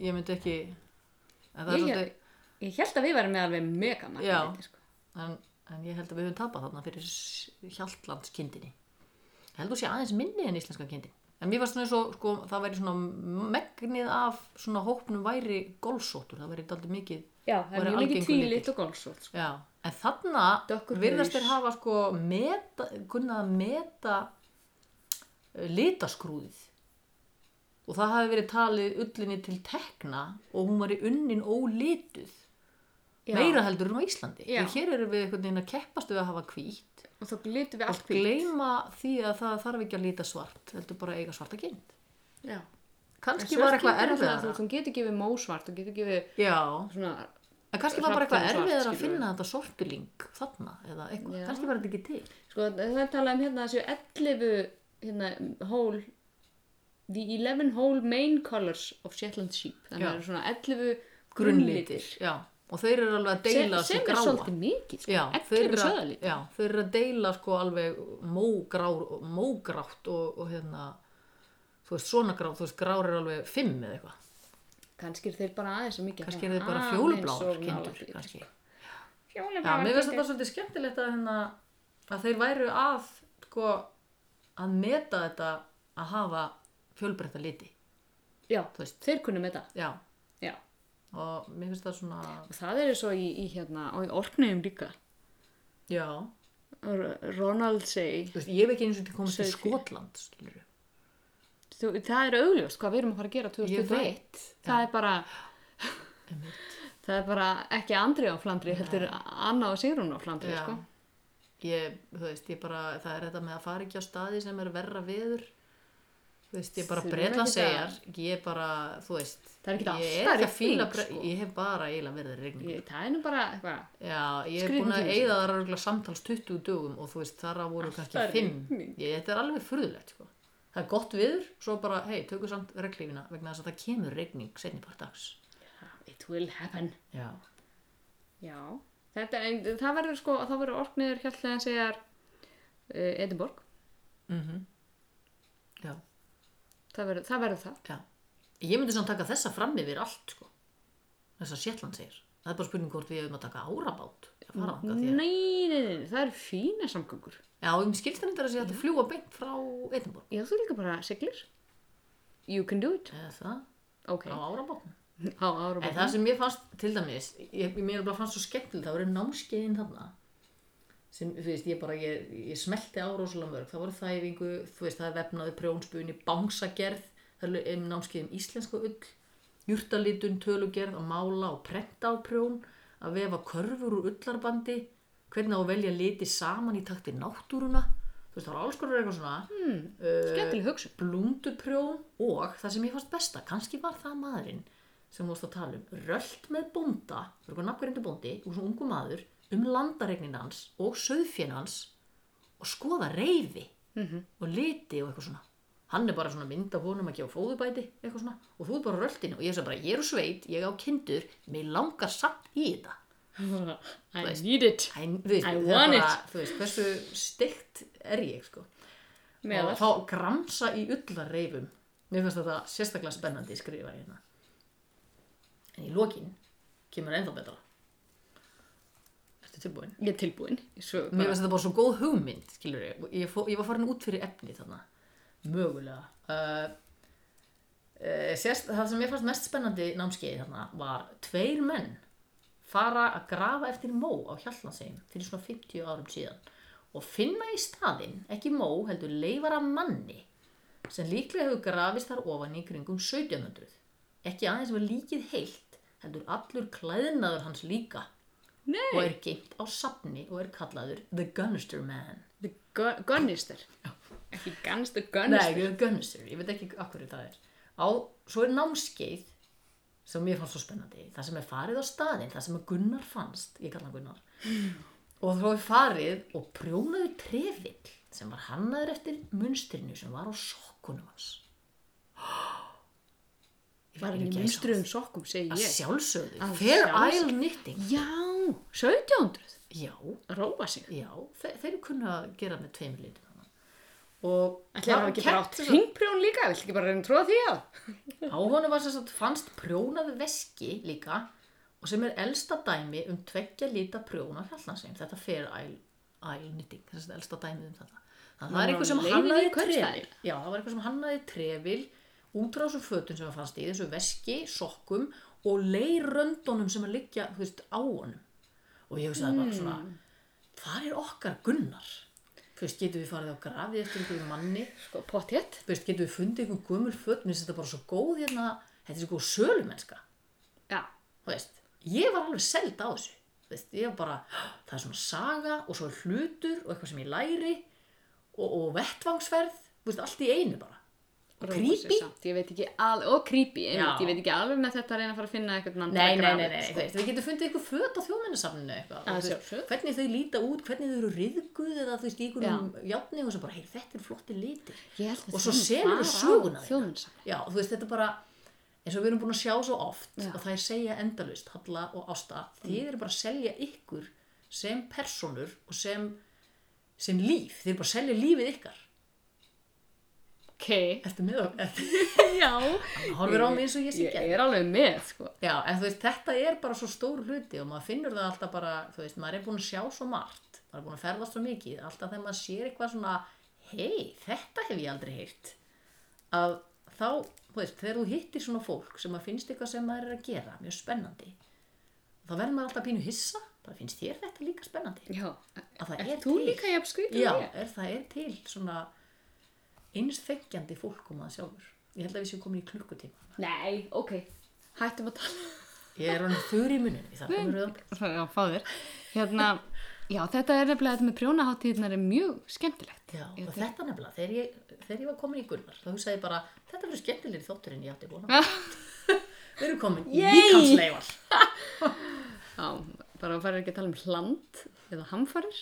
ég myndi ekki en það er ég, svolítið ég held að við varum með alveg mega magna Já. liti, sko. en, en ég held að við höfum tapað þarna fyrir s- Hjaltlandskindinni ég held að sé aðeins minni en íslenska kindin en mér var svona svo, sko, það væri svona megnið af svona hópnum væri golfsóttur, það væri daldið mikið já, það Voru er mjög algengur mikið tvílit og golfsótt sko. já, en þarna Dökkur virðast haus. þeir hafa sko meta, kunnað að meta eh, litaskrúðið og það hafi verið talið ullinni til tekna og hún var í unnin ólituð Já. meira heldur en á Íslandi Já. og hér erum við einhvern veginn að keppast við að hafa hvítt og þá litum við allt hvítt. gleyma því að það þarf ekki að líta svart heldur bara að eiga svarta kind Já. En kannski svört var eitthvað kind er náttúrulega, erfiðara þú þú getur gefið mósvart og getur gefið já, svona en kannski var bara eitthvað Hrafntinnu svart, erfiðara skilur að við. finna þetta sorpiling þarna eða eitthvað, Já. kannski var þetta ekki til Sko, það er talað um hérna þessu 11 hérna, hole the 11 hole main colors of Shetland sheep þannig Já. að það eru svona 11 grunnlitir, já og þeir eru alveg að sem, deila sem þessu er gráa. svolítið mikið sko, já, þeir 11 eru að, söðalit já, þeir eru að deila sko alveg mógrár, mógrátt og, og hérna þú veist svona grár, þú veist grár er alveg fimm eða eitthvað, kannski eru þeir bara aðeins of mikið kannski er þið bara fjólubláður kindur, sko. kannski Já, mér finnst þetta fjólubláður svolítið skemmtilegt að, hérna, að þeir væru að, sko, að meta þetta að hafa fjölbreytta liti. já, Þú veist. þeir kunum þetta Já, já. og mér finnst það svona, og það eru svo í, í hérna og í orknum líka já, R- Ronald segi þú veist, ég hef ekki eins og til komast til Sauðfé. Skotland, skilur við. þú, það er augljóst hvað við erum að fara að gera 2021 það er bara það er bara ekki Andri á Flandri heldur Anna og Sigrun á Flandri Já. sko. ég, þú veist, ég bara, það er þetta með að fara ekki á staði sem er verra viður þú veist, ég bara Þurfum breyla ekki segjar ég bara, þú veist Það er ekkert ég alltaf ekki að rigning, fíla bre- sko. ég hef bara eiginlega verið rigning ég, það er nú bara eitthvað já, ég hef Skrýtin búin að tími, eigða þar örugglega samtals 20 dögum og þú veist, þar að voru kannski er 5 rigning. ég, þetta er alveg furðulegt, sko það er gott viður, svo bara, hei, tökum samt reglífina vegna þess að það kemur rigning setni part dags it will happen já, já, þetta, en, það verður sko það verður orkniður hjálplega en segjar uh, Edinborg já, það verður það, verður það. já ég myndi svona taka þessa fram yfir allt, sko þessa Shetland segir það er bara spurning hvort við hefum að taka árabát að fara þangað því að Nei, nei, nei, nei, það eru fína samgöngur Já, um skilstændar að sé hægt að fljúa beint frá Edinborg. já, þú líka bara siglir you can do it Eða það, ok, á árabátnum. á ára En það sem mér fannst, til dæmis, ég, mér bara fannst svo skemmtilegt, það voru námskeiðin þarna, sem, þú veist, ég bara, ég, ég smelti á rosalega mörg, það voru þæfingu, þú veist, það er vefnaði prjónspunni, bánsagerð, það er um námskeiðum íslensku ull, júrtalitun, tölugerð, að mála og prenta á prjón, að vefa körfur úr ullarbandi, hvernig á að velja liti saman í takti náttúruna, þú veist, það var alls konar eitthvað svona, hmm, skemmtileg hugsun blúndurprjón og það sem ég fannst besta, kannski var það maðurinn sem þú varst að tala um, rölt með bónda, það er eitthvað nafngrindu bóndi og svona ungu maður um landaregnin hans og söðfjön hans og skoða reyfi Mhm. -hmm. og liti og eitthvað svona. Hann er bara svona mynd af honum að gefa fóðubæti eitthvað svona og þú er bara á röltinu og ég sagði bara, ég er úr sveit, ég á kindur, mig langar samt í þetta. I need it Æ, þú I veist, það er want bara, it. þú veist, hversu stygt er ég, sko með og það þá gramsa í ullarreifum mér finnst þetta sérstaklega spennandi skrifa hérna en í lokin kemur ennþá betra ertu tilbúin? ég er tilbúin Ég svo mér bara- finnst þetta bara svo góð hugmynd skilur ég, ég, fó, ég var farin út fyrir efni þarna, mögulega uh, uh, sérst, það sem mér fannst mest spennandi námskeið þarna var tveir menn fara að grafa eftir mó á Hjallansegjum fyrir svona 50 árum síðan og finna í staðinn, ekki mó heldur leifar af manni sem líklega hefur grafist þar ofan í kringum 1700 ekki aðeins var líkið heilt heldur allur klæðinaður hans líka Nei. og er geimt á safni og er kallaður The Gunnister Man The Gun- Gunnister ekki Gunnister, Gunnister Nei, The Gunnister, ég veit ekki akkur það er á, svo er námskeið sem mér fannst svo spennandi það sem er farið á staðinn, það sem er Gunnar fannst ég kalla hann Gunnar og þá er farið og prjónaðu trefill sem var hannaður eftir munstrinu sem var á sokkunum hans Ég var fæ ekki gæsahúð. minnstruðum sokkum, segi að ég sjálfsögðu, Að Fair sjálfsögðu. Isle Knitting já, 1700 já, róa sig já, þe þeir kunna að gera með tveimur litum þarna. og Ætli það var hafi ekki bara kennt átt þessa- hringprjón líka, vill ekki bara reyna að tróða því á? Á honum var sem sagt fannst prjónaði veski líka og sem er elsta dæmi um tveggja lita prjóna hjallansveim. Þetta fer Isle, Isle Knitting, þess að elsta dæmi um þetta. Þannig að það er var eitthvað sem leiðin í hannaði kaupstaðinn. trefil. Já, það var eitthvað sem hannaði trefil út á þessum fötum sem það fannst í, þessu veski, sokkum og leiröndunum sem að liggja, þú veist, á honum. Og ég hugsaði bara svona, hvað er okkar gunnar? Þú veist, getum við farið á grafið eftir einhverju manni? Sko, pottétt. Þú veist, getum við fundið einhver gömul föt mér finnst þetta bara svo góð hérna þetta er svo góð sölumennska Já. þú veist, ég var alveg seld á þessu þú veist, ég var bara, það er svona saga og svo er hlutur og eitthvað sem ég læri og, og vettvangsferð þú veist, allt í einu bara og Róa sig creepy Samt, ég veit ekki alveg, og creepy, einmitt, Já. ég veit ekki alveg með þetta að reyna að fara að finna eitthvað mann Nei, nei, nei, nei, Sko, þú veist, við getum sko. fundið ykkur föt á þjóðmennasafninu Að eitthvað og þú veist, sjálfsögðu. Hvernig þau líta út, hvernig þau eru riðguð eða þú veist, í einhverjum játni og sem bara, heyr, þetta er flotti litir Ég held að Og svo þau selur fara á þau söguna þeirra. Þjóðminjasafnið. Já, þú veist, þetta er bara eins og við erum búin að sjá svo oft Já. Mm. að það er segja endalust, Halla og Ásta þið eru bara að selja ykkur sem personur og sem sem líf, þið eru bara að selja lífið ykkar Ok. eftir miðvæm Já. horfir á mig eins og ég sé Ég gerð. er alveg með, sko. Já, en þú veist, þetta er bara svo stór hluti og maður finnur það alltaf bara, þú veist, maður er búin að sjá svo margt, maður er búin að ferðast svo mikið, alltaf þegar maður sér eitthvað svona, hei, þetta hef ég aldrei heyrt, að þá, þú veist, þegar þú hittir svona fólk sem maður finnst eitthvað sem maður er að gera, mjög spennandi, þá verður maður alltaf pínu hissa, bara finnst þér þetta líka spennandi? Já. Að það Er er þú til. líka jafn skrítið? Já, og ég? er, það er til svona eins þekkjandi fólk um það sjálfur ég held að við séum komin í klukkutíma Nei, ok, hættum að tala um ég er hann þurr í muninu það kemur það Já, fáður Hérna, já, þetta er nefnilega þetta með prjónaháttíðnar er mjög skemmtilegt Já, og þetta nefnilega, þegar ég, þegar ég var komin í Gunnar, þá hugsaði ég bara, þetta verður skemmtilegri þáttur en ég átti búin Já. að. Við erum komin í Yay! líkansleifar. Já, bara að fara ekki að tala um hland eða hamfarir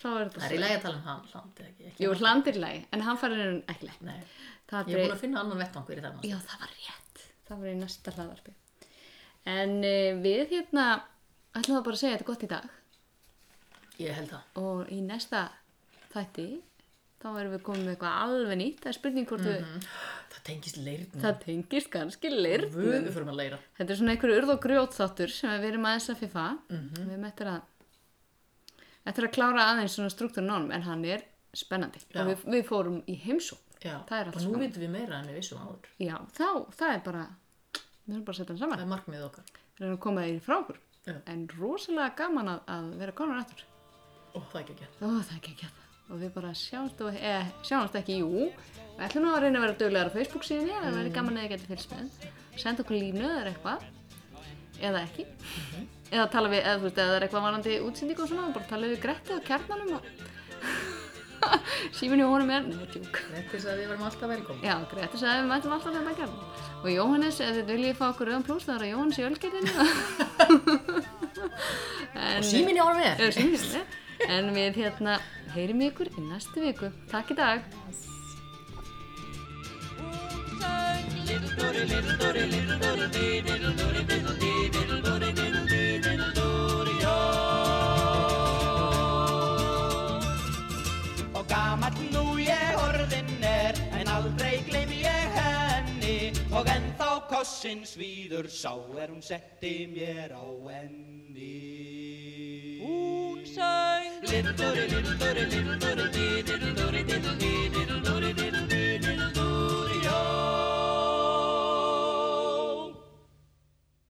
þá er Það þetta er í lagi að tala um hann, land, eða ekki? ekki Jú, hland er í lagi, en hamfarir er ekki lagi. Nei, Það ég er búin að finna annan vettvang fyrir það. Já, það var rétt. Það var í næsta hlaðvarpi. En uh, við hérna ætlum að bara að segja þetta gott í dag Ég held það. og í næsta þætti þá erum við komið með eitthvað alveg nýtt. Það er spurning hvort Mhm. Mm. Það tengist leirnum. við, það tengist kannski lirn. Vöðu við fyrir að leira. Þetta er svona einhverju urð og grjót þáttur sem við erum aðeins að fifa. Mhm. Við erum eftir að, eftir að klára aðeins svona struktúrnorm en hann er spennandi. Já. Og við, við fórum í heimsókn. Já, Það er allt og nú saman. vitum við meira en við vissum áður. Já, þá, það er bara, við erum bara að setja hann saman. Það er markmið okkar. reyna að koma þeir frá okkur Já. en rosalega gaman að, að vera konar aftur Ó, það er ekki ekki. ó það er ekki ekki og við bara sjáumst og eh, sjáumst ekki, jú við ætlum nú að reyna að vera döglegar á Facebook síðan það verður gaman að þið getur fylgst með senda okkur línu eða eitthvað eða ekki eða tala við, eða þú veist, eða það er eitthvað varandi útsending og svona, þá bara tala við Gretti og kjarnanum og síminu honum er, neða, tjúk Þetta er að við verðum alltaf velkomin. Já, Greti sagði við mætum alltaf þetta að gera og Jóhannes, ef þið viljið fá okkur rauðan plús þá er það Jóhannes í ölgerðinu en, Og síminni ára með. Já, síminn, já. en við hérna heyrim í ykkur í næstu viku Takk í dag og gamall nú ég orðin er en aldrei gleym ég henni og ennþá kossin svíður sá er hún setti mér á enni Hún söng Lindurri, lindurri, lindurri,